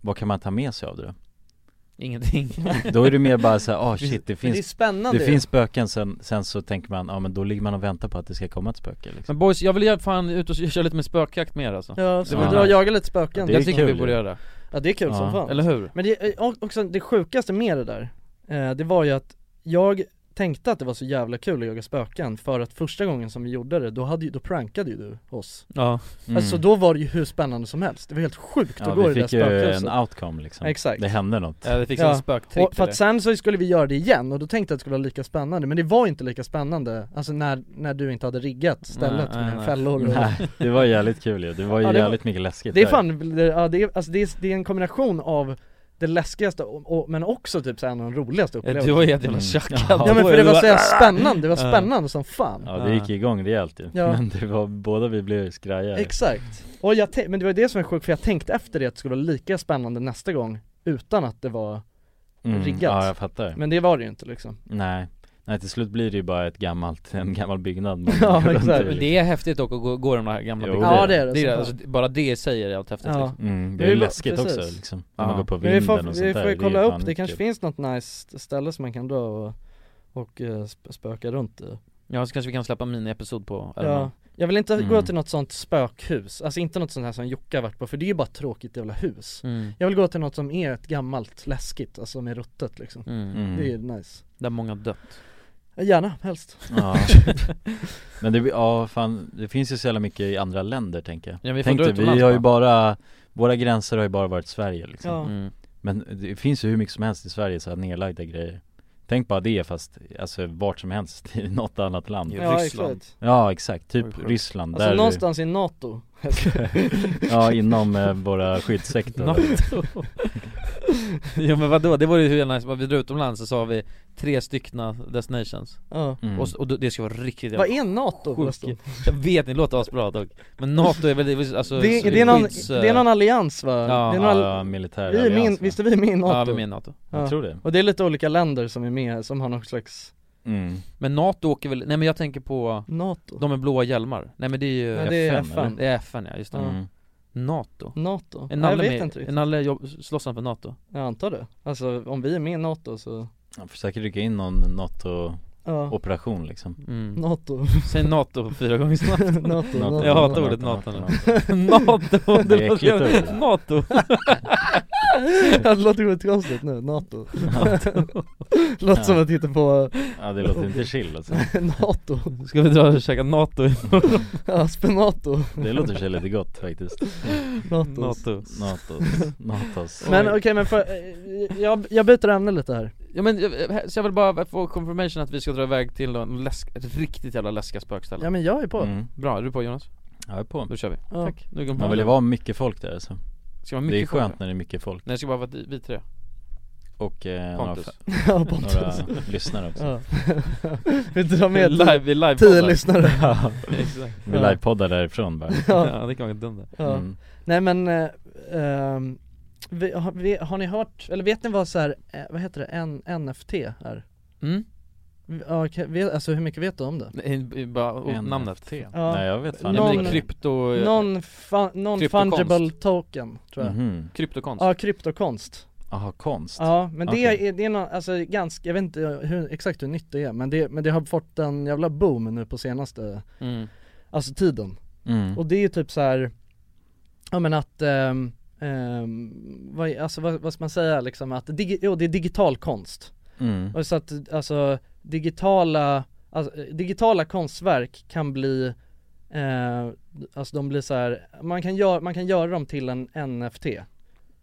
S1: vad kan man ta med sig av det då?
S2: [laughs]
S3: Ingenting
S1: Då är det mer bara såhär, ah shit det
S3: Men
S1: finns
S3: det är spännande
S1: Det
S3: ju.
S1: finns spöken, sen, sen så tänker man, ja men då ligger man och väntar på att det ska komma ett spöke liksom.
S3: Men boys, jag vill ju fan ut och köra lite med spökjakt med er alltså
S2: Ja, så
S3: Det
S2: vi
S3: var
S2: drar och
S3: nice.
S2: jagar lite spöken
S3: Jag tycker vi borde göra det
S2: Ja det är kul som fan
S3: Eller hur?
S2: Men det, eh, och- också det sjukaste med det där, eh, det var ju att jag tänkte att det var så jävla kul att jaga spöken för att första gången som vi gjorde det, då, hade ju, då prankade ju du oss
S3: Ja.
S2: Alltså
S1: Mm.
S2: då var det ju hur spännande som helst, det var helt sjukt att
S1: Ja,
S2: gå
S1: vi
S2: i det där
S1: fick ju
S2: spökhuset
S1: en outcome liksom.
S2: Exakt
S1: Det hände något.
S3: Ja, vi fick sån spöktripp
S2: och för
S3: eller?
S2: att sen så skulle vi göra det igen och då tänkte jag att det skulle vara lika spännande men det var inte lika spännande, alltså när, när du inte hade riggat stället
S1: Nej,
S2: med
S1: nej.
S2: fällor och
S1: Nej, [laughs] det var jävligt kul ju, det var ju
S2: Ja, det var-
S1: jävligt mycket läskigt
S2: Det är
S1: där.
S2: fan, det, ja, det, är, alltså, det, är, det är en kombination av det läskigaste och, och, men också typ så här en av de roligaste upplevelserna
S3: du var helt jävla typ tjackad.
S2: Ja, men
S3: Då
S2: för
S3: är
S2: det
S3: du
S2: var så
S3: bara- "Ah!"
S2: jävla spännande, det var
S3: Ja.
S2: spännande som fan
S1: Ja det gick igång rejält ju, [laughs]
S2: Ja.
S1: men det var, båda vi blev skraja
S2: Exakt, och jag tän- men det var det som är sjukt för jag tänkte efter det att det skulle vara lika spännande nästa gång utan att det var
S1: Mm,
S2: riggat
S1: ja, jag fattar.
S2: Men det var det ju inte liksom
S1: Nej, nej till slut blir det ju bara ett gammalt, en gammal byggnad man
S2: [laughs] Ja,
S1: går runt i,
S2: exakt.
S1: liksom.
S3: Det är häftigt dock att gå, gå de här gamla
S1: Jo,
S3: byggnaderna
S1: det är det. Ja, det är det,
S3: det
S1: som
S3: är,
S1: fan.
S3: alltså, det- Bara det säger är allt häftigt
S2: Ja.
S3: liksom.
S1: Mm, det
S2: Men
S1: är ju
S2: vi-
S1: läskigt
S2: precis.
S1: också liksom, när man går på
S2: Men vi
S1: vinden
S2: får,
S1: och sånt
S2: Vi
S1: där,
S2: får ju
S1: det är ju
S2: kolla
S1: fan
S2: upp, det
S1: kul.
S2: kanske finns något nice ställe som man kan dra och, och eh, sp- spöka runt i
S3: Ja så kanske vi kan släppa mini-episod på
S2: Ja,
S3: ja.
S2: jag vill inte gå
S3: Mm.
S2: till något sånt spökhus, alltså inte något sånt här som Jocke har varit på för det är ju bara ett tråkigt jävla hus
S3: Mm.
S2: Jag vill gå till något som är ett gammalt läskigt, alltså med ruttet liksom
S3: Mm. Mm.
S2: Det är nice
S3: Där många har dött
S2: Gärna, helst [laughs]
S1: Ja. Men det, ja, fan, det finns ju så jävla mycket i andra länder tänker jag
S3: Ja, vi får
S1: Tänk
S3: dra
S1: dig,
S3: utomlands,
S1: vi har ju
S3: va?
S1: bara, våra gränser har ju bara varit Sverige liksom
S2: Ja.
S3: Mm.
S1: Men det finns ju hur mycket som helst i Sverige så här nedlagda grejer Tänk bara det fast, alltså vart som helst i [laughs] något annat land
S2: I Ja, Ryssland. exakt.
S1: Ja exakt, typ
S2: Oj, sjukt.
S1: Ryssland
S2: Alltså
S1: där
S2: någonstans
S1: [laughs]
S2: i NATO
S1: Ja inom eh, våra skyddssektorer
S3: NATO. [laughs] Jo men vadå, det vore ju hur jävla nice, vi drar utomlands så sa vi tre styckna destinations
S2: Ja. Mm.
S3: och, s- och då- det ska vara riktigt
S2: Vad
S3: jävla
S2: är NATO
S3: sjuk-
S2: förresten?
S3: Jag vet, ni låter asbra dock Men NATO är väl, det är väl alltså
S2: Det är- det är någon- det är någon allians, va?
S3: Ja,
S2: Det är någon all-
S1: ja, militär
S2: vi är med, Visst är vi med i NATO?
S3: Ja vi är med i NATO
S1: Jag tror det.
S2: Och det är lite olika länder som är med, som har någon slags
S1: Mm.
S3: Men NATO åker väl, nej men jag tänker på
S2: NATO
S3: De med blåa hjälmar, nej men det är ju
S2: Nej, det är FN, eller?
S3: Det är FN ja, just det
S2: Mm.
S3: NATO
S2: NATO?
S3: Är
S2: Nej, jag
S3: Nalle
S2: vet
S3: med,
S2: inte riktigt.
S3: är Nalle jobb, slåss han för NATO?
S2: Jag antar det, alltså om vi är med i NATO så
S1: Man försöker rycka in någon
S2: Ja.
S1: NATO-operation liksom
S2: NATO
S3: Mm. [laughs]
S2: [laughs]
S3: Säg NATO fyra gånger snabbt
S2: NATO,
S3: Jag
S2: [laughs] NATO,
S1: [laughs]
S3: hatar
S2: NATO,
S3: ordet
S2: NATO,
S3: NATO nu NATO!
S2: Det är äckligt ord.
S3: NATO!
S2: det låter skitkonstigt
S3: [laughs]
S2: nu, NATO Låter som att hitta på [laughs]
S1: Ja, det låter inte chill, alltså.
S2: NATO
S3: Ska vi dra och käka NATO imorgon?
S2: Ja, spenato
S1: Det låter sig lite gott faktiskt
S2: Natos.
S3: Natos.
S1: Natos Natos
S2: Men Mm. okej men för, eh, jag, jag byter ämne lite här
S3: Ja men, eh, så jag vill bara få confirmation att vi ska dra iväg till någon läsk, ett riktigt jävla läskiga spökställe
S2: Ja men jag är på
S1: Mm.
S3: Bra, är du på Jonas?
S1: Jag är på
S3: Då kör vi
S2: Ja.
S3: Tack, nu går
S1: Man vill ju vara mycket folk där alltså
S3: Ska vara mycket
S1: Det är
S3: folk
S1: skönt
S3: där.
S1: när det är mycket folk
S3: Nej det ska bara vara vi vi tre
S1: och eh,
S3: Pontus.
S1: några,
S2: Ja, Pontus. [laughs]
S1: några lyssnare också
S2: Ja.
S3: [laughs]
S2: Vill du dra med
S3: Live, vi livepoddar.
S2: tio
S3: [laughs]
S2: lyssnare? [laughs]
S1: Ja.
S3: Exakt.
S1: Vi livepoddar därifrån bara
S3: Ja det kan vara dumt det
S2: Ja.
S1: Mm.
S2: Nej men, eh, ehm, vi, har, vi, har ni hört, eller vet ni vad så här, eh, vad heter det, N, NFT är?
S3: Mm.
S2: Ja, okej, vet, alltså hur mycket vet du om det?
S3: Nej, Mm. bara och namnet
S1: NFT.
S2: Ja.
S1: Nej jag vet fan
S3: Nej men
S1: inte
S3: det är
S1: vad
S3: krypto,
S2: Non, fun, non-fungible
S3: Kryptokonst.
S2: token tror jag
S1: Mhm.
S3: kryptokonst
S2: Ja, kryptokonst
S1: Aha, konst?
S2: Ja, men det
S1: Okej.
S2: är, det är nå alltså ganska, jag vet inte hur, exakt hur nytt det är men det, men det har fått en jävla boom nu på senaste,
S3: mm.
S2: alltså tiden
S1: Mm.
S2: Och det är ju typ så här, ja men att, ehm, ehm, vad, är- alltså vad, vad ska man säga liksom att, digi- jo det är digital konst
S1: Mm.
S2: Och så att alltså digitala, alltså, eh, digitala konstverk kan bli eh, Alltså de blir så här, man kan, gör, man kan göra dem till en NFT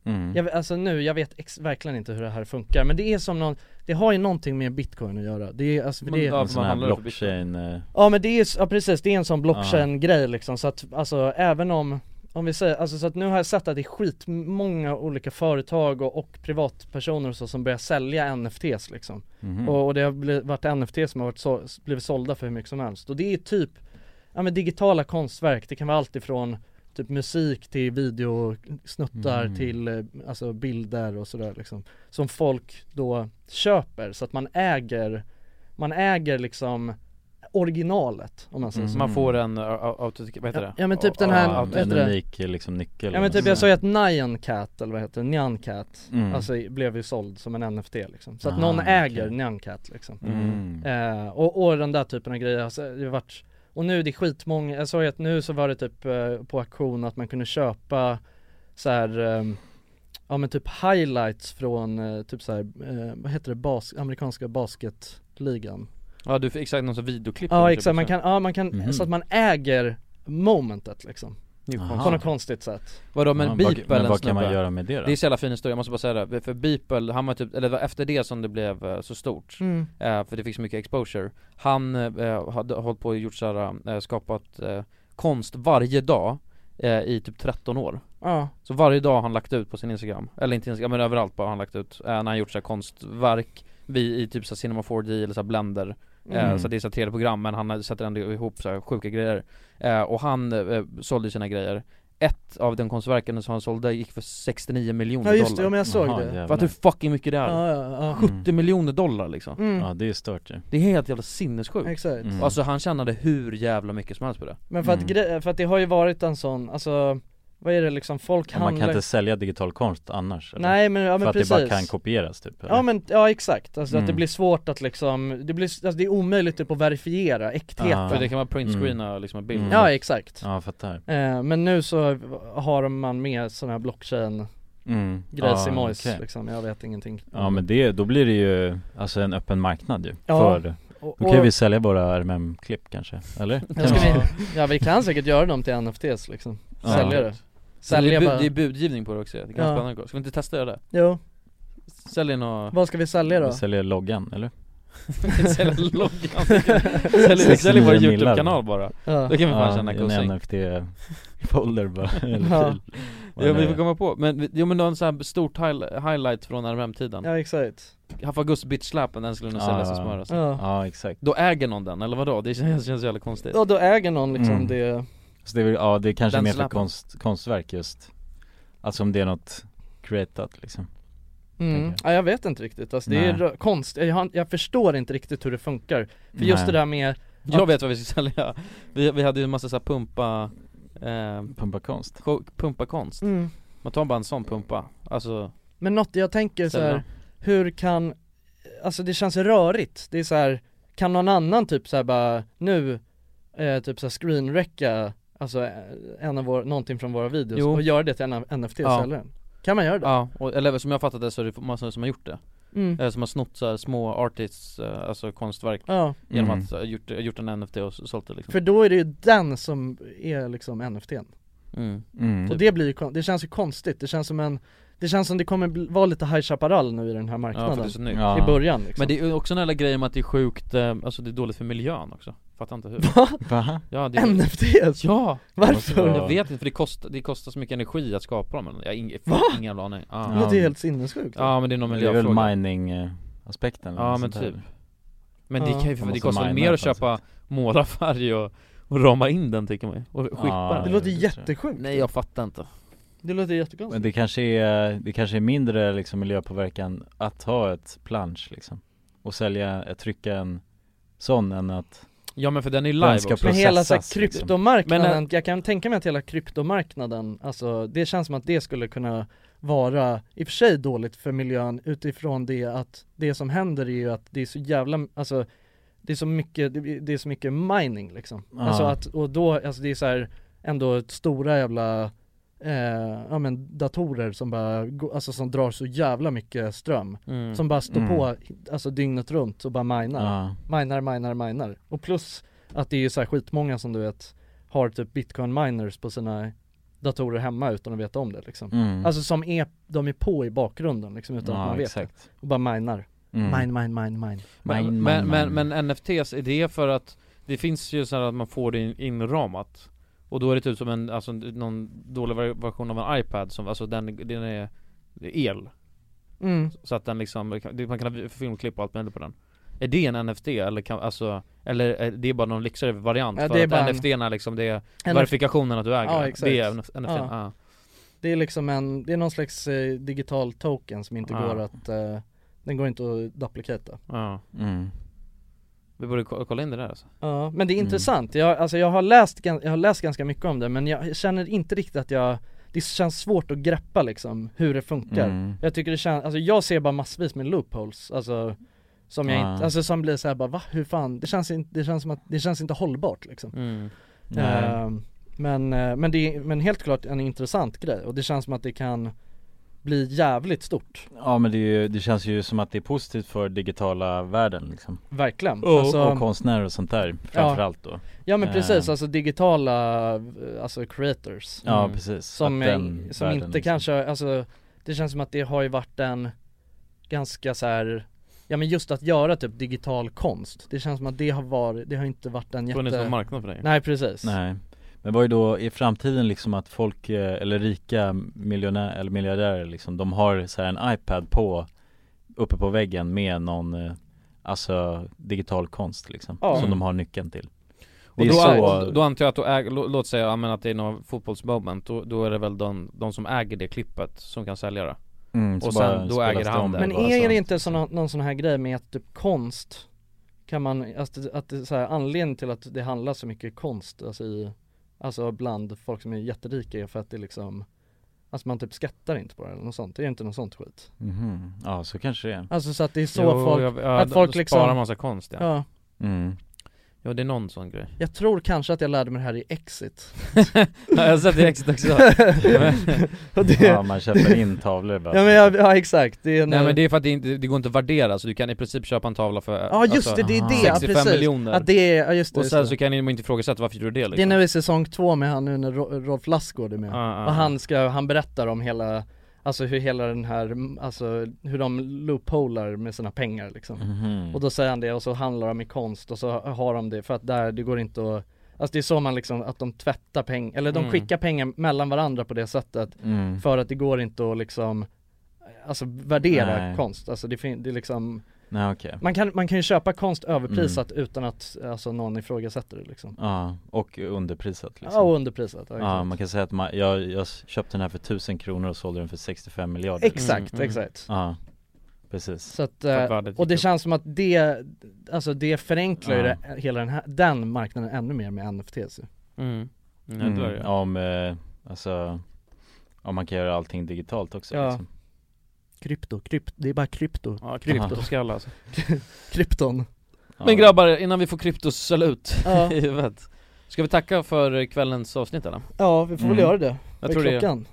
S1: Mm.
S2: jag, vet- Alltså nu, jag vet ex- verkligen inte hur det här funkar men det är som någon, det har ju någonting med bitcoin att göra Det är alltså, för
S3: Men
S2: det
S3: ja,
S1: En
S3: vad
S1: sån här
S3: handlar det för bitcoin?
S1: blockchain eh,
S2: Ja men det är, ja precis, det är en sån blockchain-grej liksom så att alltså även om om vi säger, alltså så att nu har jag sett att det är skitmånga olika företag och, och privatpersoner och så som börjar sälja NFTs liksom
S1: mhm.
S2: och, och det har blivit, varit NFTs som har varit så, blivit sålda för hur mycket som helst och det är typ Ja men digitala konstverk, det kan vara allt ifrån typ musik till videosnuttar
S1: Mm.
S2: till eh, alltså bilder och sådär liksom Som folk då köper så att man äger Man äger liksom originalet om man säger
S1: Mm.
S2: så
S3: Man får en, uh, autentik, vad heter
S2: Ja,
S3: det?
S2: ja, men typ den
S3: Ja,
S2: här-
S3: autentik-
S2: vet
S1: En
S2: du det?
S1: unik eh, liksom nyckel
S2: Ja men typ
S1: eller
S2: jag
S1: något
S2: sa ju att Nyan Cat eller vad heter det, Nyan Cat
S1: Mm.
S2: Alltså blev ju såld som en NFT liksom Så att
S1: Ah,
S2: någon
S1: okej.
S2: äger Nyan Cat liksom
S1: sånt. Mm.
S2: Eh, och, och den där typen av grejer, alltså, det har varit Och nu är det skitmånga, jag såg att nu så var det typ eh, på auktion att man kunde köpa så här ehm, Ja men typ highlights från eh, typ så här, eh, vad heter det, bas, amerikanska basketligan
S3: Ja du, exakt någon sån videoklipp
S2: Ja exakt, man kan, ja man kan,
S1: typ Mhm.
S2: så att man äger momentet liksom
S1: Aha.
S2: På något konstigt sätt
S3: Vadå
S1: Ja,
S3: men
S1: vad-
S3: Beeple
S1: Men
S3: en
S1: vad kan man
S3: snubbe.
S1: göra med det då?
S3: Det är så jävla fin historia, jag måste bara säga det, för Beeple, han var typ, eller det var efter det som det blev eh, så stort eh, För det fick så mycket exposure Han eh, hade hållit på och gjort såhär, eh, skapat eh, konst varje dag eh, i typ 13 år
S2: Ja,
S3: Så varje dag har han lagt ut på sin instagram, eller inte instagram men överallt bara har han lagt ut eh, När han gjort såhär konstverk vi, i typ såhär Cinema 4D eller såhär Blender eh,
S1: Mm.
S3: Så det är såhär 3D-program men han sätter ändå ihop såhär sjuka grejer eh, Och han eh, sålde ju sina grejer Ett av den konstverken som han sålde gick för 69 miljoner
S2: ja
S3: dollar
S2: just det, ja, men jag såg
S1: Jaha,
S2: det
S1: jävlar. Mm.
S3: Fattar du hur fucking mycket det är?
S2: Ja ja
S3: 70 miljoner dollar liksom
S2: ja, mm.
S1: Ja det är stört ju
S3: Det är helt jävla sinnessjukt
S2: exakt
S1: Mm.
S3: Alltså han tjänade hur jävla mycket som helst på det
S2: Men för att,
S1: Mm.
S2: gre- för att det har ju varit en sån, alltså vad är det liksom, folk
S1: Ja, Man
S2: handlar
S1: kan inte sälja digital konst annars eller?
S2: Nej men, ja
S1: För
S2: men
S1: att
S2: precis
S1: det bara kan kopieras typ eller?
S2: Ja men, ja exakt, alltså att det
S1: Mm.
S2: blir svårt att liksom, det blir, alltså det är omöjligt typ att verifiera äktheten
S1: Ah.
S3: För det kan man printscreena liksom en bild
S1: Mm.
S2: Ja exakt
S1: Ja fattar
S2: eh, Men nu så har man med sån här blockchain
S1: mm.
S2: grejs
S1: Ja,
S2: i mojs
S1: okej.
S2: liksom, jag vet ingenting
S1: Ja men det, då blir det ju alltså en öppen marknad ju
S2: Ja.
S1: för
S2: och,
S1: Då kan vi sälja våra RMM-klipp kanske, eller?
S2: ja, ska vi, ja vi kan säkert göra dem till NFTs liksom,
S1: Ja.
S2: sälja det
S3: Så det,
S2: Sälja
S3: är bu-
S2: bara,
S3: det är budgivning på det också, det kan
S2: Ja.
S3: vara spännande att gå. Ska vi inte testa det?
S2: jo,
S3: Sälj in
S2: [laughs]
S3: och...
S2: vad ska vi sälja då?
S1: Vi säljer loggan, eller?
S3: [laughs] Sälj loggan Sälj, sälj
S1: 69
S3: vår
S1: millar.
S3: youtube-kanal bara
S2: Ja.
S3: Då kan vi fan tjäna
S1: en
S3: kosing
S1: NFT-folder
S2: [laughs]
S1: bara, eller
S2: Ja.
S1: fil
S3: Ja vi får komma på, men vi- jo men du har en sån här stort high- highlight från RMM-tiden
S2: Ja exakt,
S3: Han får Gusts bitch slap den skulle nog säljas
S1: Ja.
S3: som smör alltså.
S2: ja
S1: Ja exakt
S3: Då äger någon den, eller vadå? Det känns, känns jävla konstigt
S2: Ja då äger någon liksom
S1: Mm.
S2: det,
S1: Så det är, väl- ja det är kanske
S3: Den
S1: mer för
S3: slappen.
S1: konst, konstverk just Alltså om det är något creatat liksom
S2: mm.
S1: Tänker
S2: ja, jag vet inte riktigt alltså, det
S1: Nej.
S2: är rö- konst, jag, har- jag förstår inte riktigt hur det funkar För just det
S1: Nej.
S2: där med
S3: Jag vet vad vi ska sälja Vi, vi hade ju en massa såhär pumpa, eh,
S1: Pumpa konst
S3: ko- pumpa konst
S2: Mm.
S3: Man tar bara en sån pumpa, alltså
S2: Men något jag tänker så
S3: Sälja.
S2: här, hur kan, alltså det känns rörigt, det är så här, kan någon annan typ så här bara nu, eh, typ såhär screenrecka, alltså eh, en av vår, någonting från våra videos
S3: Jo.
S2: och göra det till en av- NFT och
S3: Ja.
S2: sälja den? Kan man göra det?
S3: Ja, och, eller som jag fattat det så är det massor som har gjort det
S2: Mm.
S3: eh, Som har snott så här, små artists, eh, alltså konstverk
S2: Ja.
S3: Genom
S2: Mm.
S3: att ha gjort, gjort en NFT och s- sålt det liksom
S2: För då är det ju den som är liksom NFT'n
S3: Mm.
S1: Mm.
S2: Och det blir ju, kon- det känns ju konstigt, det känns som en Det känns som det kommer bli- vara lite High Chaparral nu i den här
S3: Ja, för det är
S2: marknaden
S3: så nytt.
S2: I början liksom
S3: Men det är ju också den där grejen med att det är sjukt, eh, alltså det är dåligt för miljön också Fattar inte hur
S1: Va?
S3: Ja, [laughs] det är...
S2: NFT?
S3: Ja!
S2: [laughs] Varför?
S3: Jag vet inte, för det kostar, det kostar så mycket energi att skapa dem eller- Jag har ingen,
S2: Va?
S3: ingen jävla aning ja.
S2: Men det är helt sinnessjukt
S3: Ja men det är någon
S1: Men det är väl
S3: miljöfråga
S1: mining-aspekten eller
S3: Ja
S1: något
S3: men
S1: sånt där.
S3: typ Men det,
S2: Ja.
S3: kan
S1: Man
S3: ju, det
S1: måste alltså.
S3: kostar väl
S1: mina
S3: mer att
S1: på något
S3: köpa målarfärg och, och rama in den tycker man ju, och skippa
S1: Ja,
S3: den
S2: Det låter jättesjukt
S3: Nej jag fattar inte
S2: Det låter jättekonstigt
S1: Men det kanske är, det kanske är mindre liksom miljöpåverkan att ha ett plansch liksom Och sälja, att trycka en sån än att
S3: Ja men för den är ju
S1: Den
S3: live
S1: ska
S3: också
S2: Men hela så här
S1: processas, liksom.
S2: kryptomarknaden,
S3: Men,
S2: jag kan tänka mig att hela kryptomarknaden, alltså det känns som att det skulle kunna vara, i och för sig dåligt för miljön utifrån det att det som händer är ju att det är så jävla, alltså det är så mycket, det det är så mycket mining liksom.
S1: Ja.
S2: Alltså att, och då, alltså det är så här ändå stora jävla Eh, ja men datorer som bara, går- alltså som drar så jävla mycket ström
S3: Mm.
S2: Som bara står
S1: Mm.
S2: på, alltså dygnet runt och bara minar minar, minar, minar. Och plus att det är ju så här skitmånga som du vet har typ bitcoin miners på sina datorer hemma utan att veta om det liksom.
S1: Mm.
S2: Alltså som är, de är på i bakgrunden liksom utan
S1: Ja,
S2: att man vet
S1: exakt.
S2: det. Och bara minar.
S1: Mm.
S2: Mine, mine, mine, mine.
S3: men,
S1: Mine,
S3: men,
S1: mine,
S3: men, men NFTs, är det för att det finns ju så här att man får det in- inramat Och då är det typ som en, alltså någon dålig ver- version av en iPad som, alltså den, den är det är el
S2: Mm.
S3: Så att den liksom, det- man kan ha filmklipp och allt möjligt på den Är det en NFT eller kan, alltså, eller är det är bara någon lyxigare variant?
S2: Ja,
S3: för
S2: det är
S3: att
S2: bara en-
S3: NFT är liksom det, är
S2: NF
S3: verifikationen att du äger
S2: Ja,
S3: den.
S2: exakt.
S3: Det är NFT, ja.
S2: Ja. Det är liksom en, det är någon slags eh, digital token som inte
S3: Ja.
S2: går att, eh, den går inte att duplicata.
S3: Ja.
S1: mm,
S3: Vi borde ko- kolla in det där alltså
S2: Ja, men det är intressant. Jag, alltså jag, har läst, gan- jag har läst ganska mycket om det men jag känner inte riktigt att jag Det känns svårt att greppa liksom hur det funkar
S1: Mm.
S2: Jag tycker det känns, alltså jag ser bara massvis med loopholes Alltså Som jag
S1: Ja.
S2: inte, alltså som blir såhär bara va? Hur fan? Det känns inte, det känns som att, det känns inte hållbart liksom
S3: Mm.
S1: Nej.
S2: Ehm, men, eh, men det är, men helt klart en intressant grej och det känns som att det kan bli jävligt stort,
S1: Ja men det, är ju, det känns ju som att det är positivt för digitala världen liksom
S2: verkligen Alltså,
S1: Och konstnärer och sånt där framförallt då
S2: Ja men
S1: Eh,
S2: precis, alltså digitala, eh, alltså creators
S1: Ja, Mm. precis.
S2: Som,
S1: Att
S2: är-
S1: den
S2: som
S1: världen
S2: inte
S1: liksom.
S2: kanske, alltså det känns som att det har ju varit en ganska så här Ja men just att göra typ digital konst, det känns som att det har varit, det har inte varit en jätte
S3: Funnits någon marknad för det.
S2: Nej precis
S1: Nej Men vad är då i framtiden liksom att folk, eh, eller rika miljonärer eller miljardärer liksom De har så här en iPad på, uppe på väggen med någon eh, Alltså digital konst liksom,
S3: Ja.
S2: Mm.
S1: som de har nyckeln till Det
S3: Och
S1: är
S3: då,
S1: så,
S3: då antar jag att då äger, lå- låt säga, ja, men att det är någon fotbollsmoment, då, då är det väl de, de som äger det klippet som kan sälja det
S1: Mm, så
S3: Och
S1: bara
S3: sen, då
S1: spelas
S3: äger
S1: det
S3: han
S1: om.
S3: det
S2: Men
S3: bara,
S2: är
S3: så.
S2: det inte så någon, någon sån här grej med att typ konst Kan man, att, det- att det, så här, anledningen till att det handlar så mycket konst alltså, i, alltså bland folk som är jätterika är för att det liksom Alltså man typ skattar inte på det eller något sånt, är det inte något sånt skit?
S1: Mhm. Ja så kanske det är
S2: Alltså så att det är så
S3: Jo,
S2: folk,
S3: jag- ja,
S2: att
S3: de-
S2: folk
S3: de
S2: liksom
S3: sparar massa konst, ja.
S2: ja
S1: mm.
S3: Ja det är någon sån grej [laughs]
S2: Jag tror kanske att jag lärde mig det här i Exit
S3: Alltså. Ja, jag har sett i Exit
S2: [laughs]
S3: också.
S2: [laughs] Och det-
S1: Ja man köper in tavlor bara
S2: Ja men jag, ja exakt, det är
S3: Nej men det är för att det, inte, det går inte att värdera så du kan i princip köpa en tavla för
S2: Ja just det, det är det, ja,
S3: 65
S2: precis!
S3: Alltså, miljoner
S2: Att det är, ja just det,
S3: Och
S2: just
S3: sen
S2: det.
S3: så kan ni inte ifrågasätta varför du gjorde det
S2: Det är
S3: liksom.
S2: nu i säsong två med han nu när Ro- Rolf Lassgård är med
S3: Ja, ja, ja.
S2: Och han ska, han berättar om hela Alltså hur hela den här, mm, alltså hur de loopholar med sina pengar liksom
S1: Mhm.
S2: Och då säger han det och så handlar de i konst och så har de det för att där, det går inte att Alltså det är så man liksom, att de tvättar pengar, eller de
S1: Mm.
S2: skickar pengar mellan varandra på det sättet
S1: Mm.
S2: För att det går inte att liksom Alltså värdera
S1: Nej.
S2: konst, alltså det, fin- det är liksom
S1: Nej okej
S2: man kan, man kan ju köpa konst överprisat
S1: Mm.
S2: utan att alltså, någon ifrågasätter det liksom
S1: Ja, och underprisat liksom
S2: Ja och underprisat, ja,
S1: Ja
S2: exakt.
S1: man kan säga att man, jag, jag köpte den här för 1000 kronor och sålde den för 65 miljarder
S2: Exakt, Mm, mm. exakt.
S1: Ja, precis
S2: Så att,
S1: För att
S2: eh,
S1: värdet
S2: och
S1: gick
S2: det
S1: upp.
S2: känns som att det, alltså det förenklar ju
S1: Ja.
S2: det, hela den, här, den marknaden ännu mer med NFTs ju.
S3: Mm. Nej,
S1: Mm,
S3: det är det.
S1: Om, eh, alltså, om man kan göra allting digitalt också
S2: Ja.
S1: liksom.
S2: Krypto, krypt, det är
S3: [laughs]
S2: bara krypto
S3: Ja,
S2: krypto.
S3: kryptoskalle, alltså.
S2: Krypton
S3: Men grabbar, innan vi får kryptosalut
S2: Ja.
S3: [laughs] i
S2: [laughs]
S3: huvudet Ska vi tacka för kvällens avsnitt eller?
S2: Ja vi får väl
S3: Mm.
S2: göra det,
S3: Jag
S2: Vad är
S3: tror det
S2: klockan?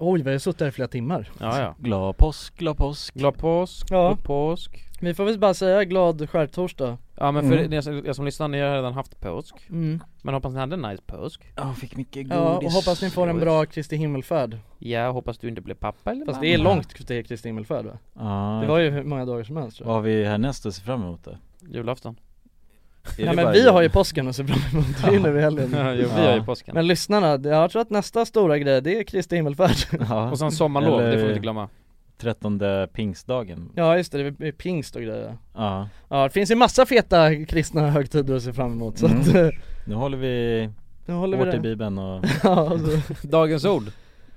S6: Oj, vi har suttit här i flera timmar
S3: Ja, ja.
S1: Glad påsk, glad påsk
S3: Glad påsk,
S2: Ja.
S3: god påsk
S2: Vi får väl bara säga glad skärtorsdag
S3: Ja men för
S2: Mm.
S3: er, som- er som lyssnar, ni har redan haft påsk
S2: Mm.
S3: Men hoppas ni hade en nice påsk
S1: Ja, fick mycket
S2: Ja, och hoppas ni får en bra Kristi himmelfärd
S3: Ja, hoppas du inte blir pappa eller
S2: Fast
S3: mamma.
S2: det är långt till Kristi himmelfärd va?
S1: Ja,
S2: Det var ju hur många dagar som helst tror
S1: Vad har vi härnäst att se fram emot då?
S3: [laughs] Julafton
S1: Är
S2: jag.
S1: det
S2: Ja men
S1: bara
S2: vi
S1: jul?
S2: har ju påsken att se fram emot, det är ju nu i helgen
S3: Ja, jo, vi har ju påsken
S2: Men lyssnarna, det- jag tror att nästa stora grej det är Kristi himmelfärd
S1: [laughs]
S2: [laughs]
S1: Ja.
S3: Och sen sommarlov, det får vi inte glömma
S1: 13 pingstdagen
S2: Ja just det, det är pingst och grejer
S1: Ja,
S2: Ja det finns ju massa feta kristna högtider att se fram emot så
S1: Mm.
S2: att, eh,
S1: nu håller vi
S2: Nu håller vi
S1: hårt i
S2: [laughs] det.
S1: bibeln och
S2: ja, alltså,
S3: Dagens ord,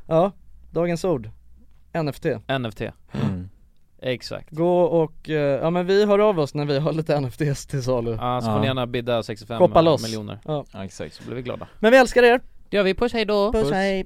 S2: ja, dagens ord NFT
S3: NFT
S1: Mm.
S3: Exakt
S2: Gå och, eh, ja men vi hör av oss när vi har lite NFTs till salu
S3: Ja, så får ni gärna bidda 65
S2: Shoppa loss.
S3: miljoner
S2: Ja.
S1: Ja, exakt
S3: Så blir vi glada
S2: Men vi älskar er!
S3: Det gör vi, puss hej då
S2: Puss, hej!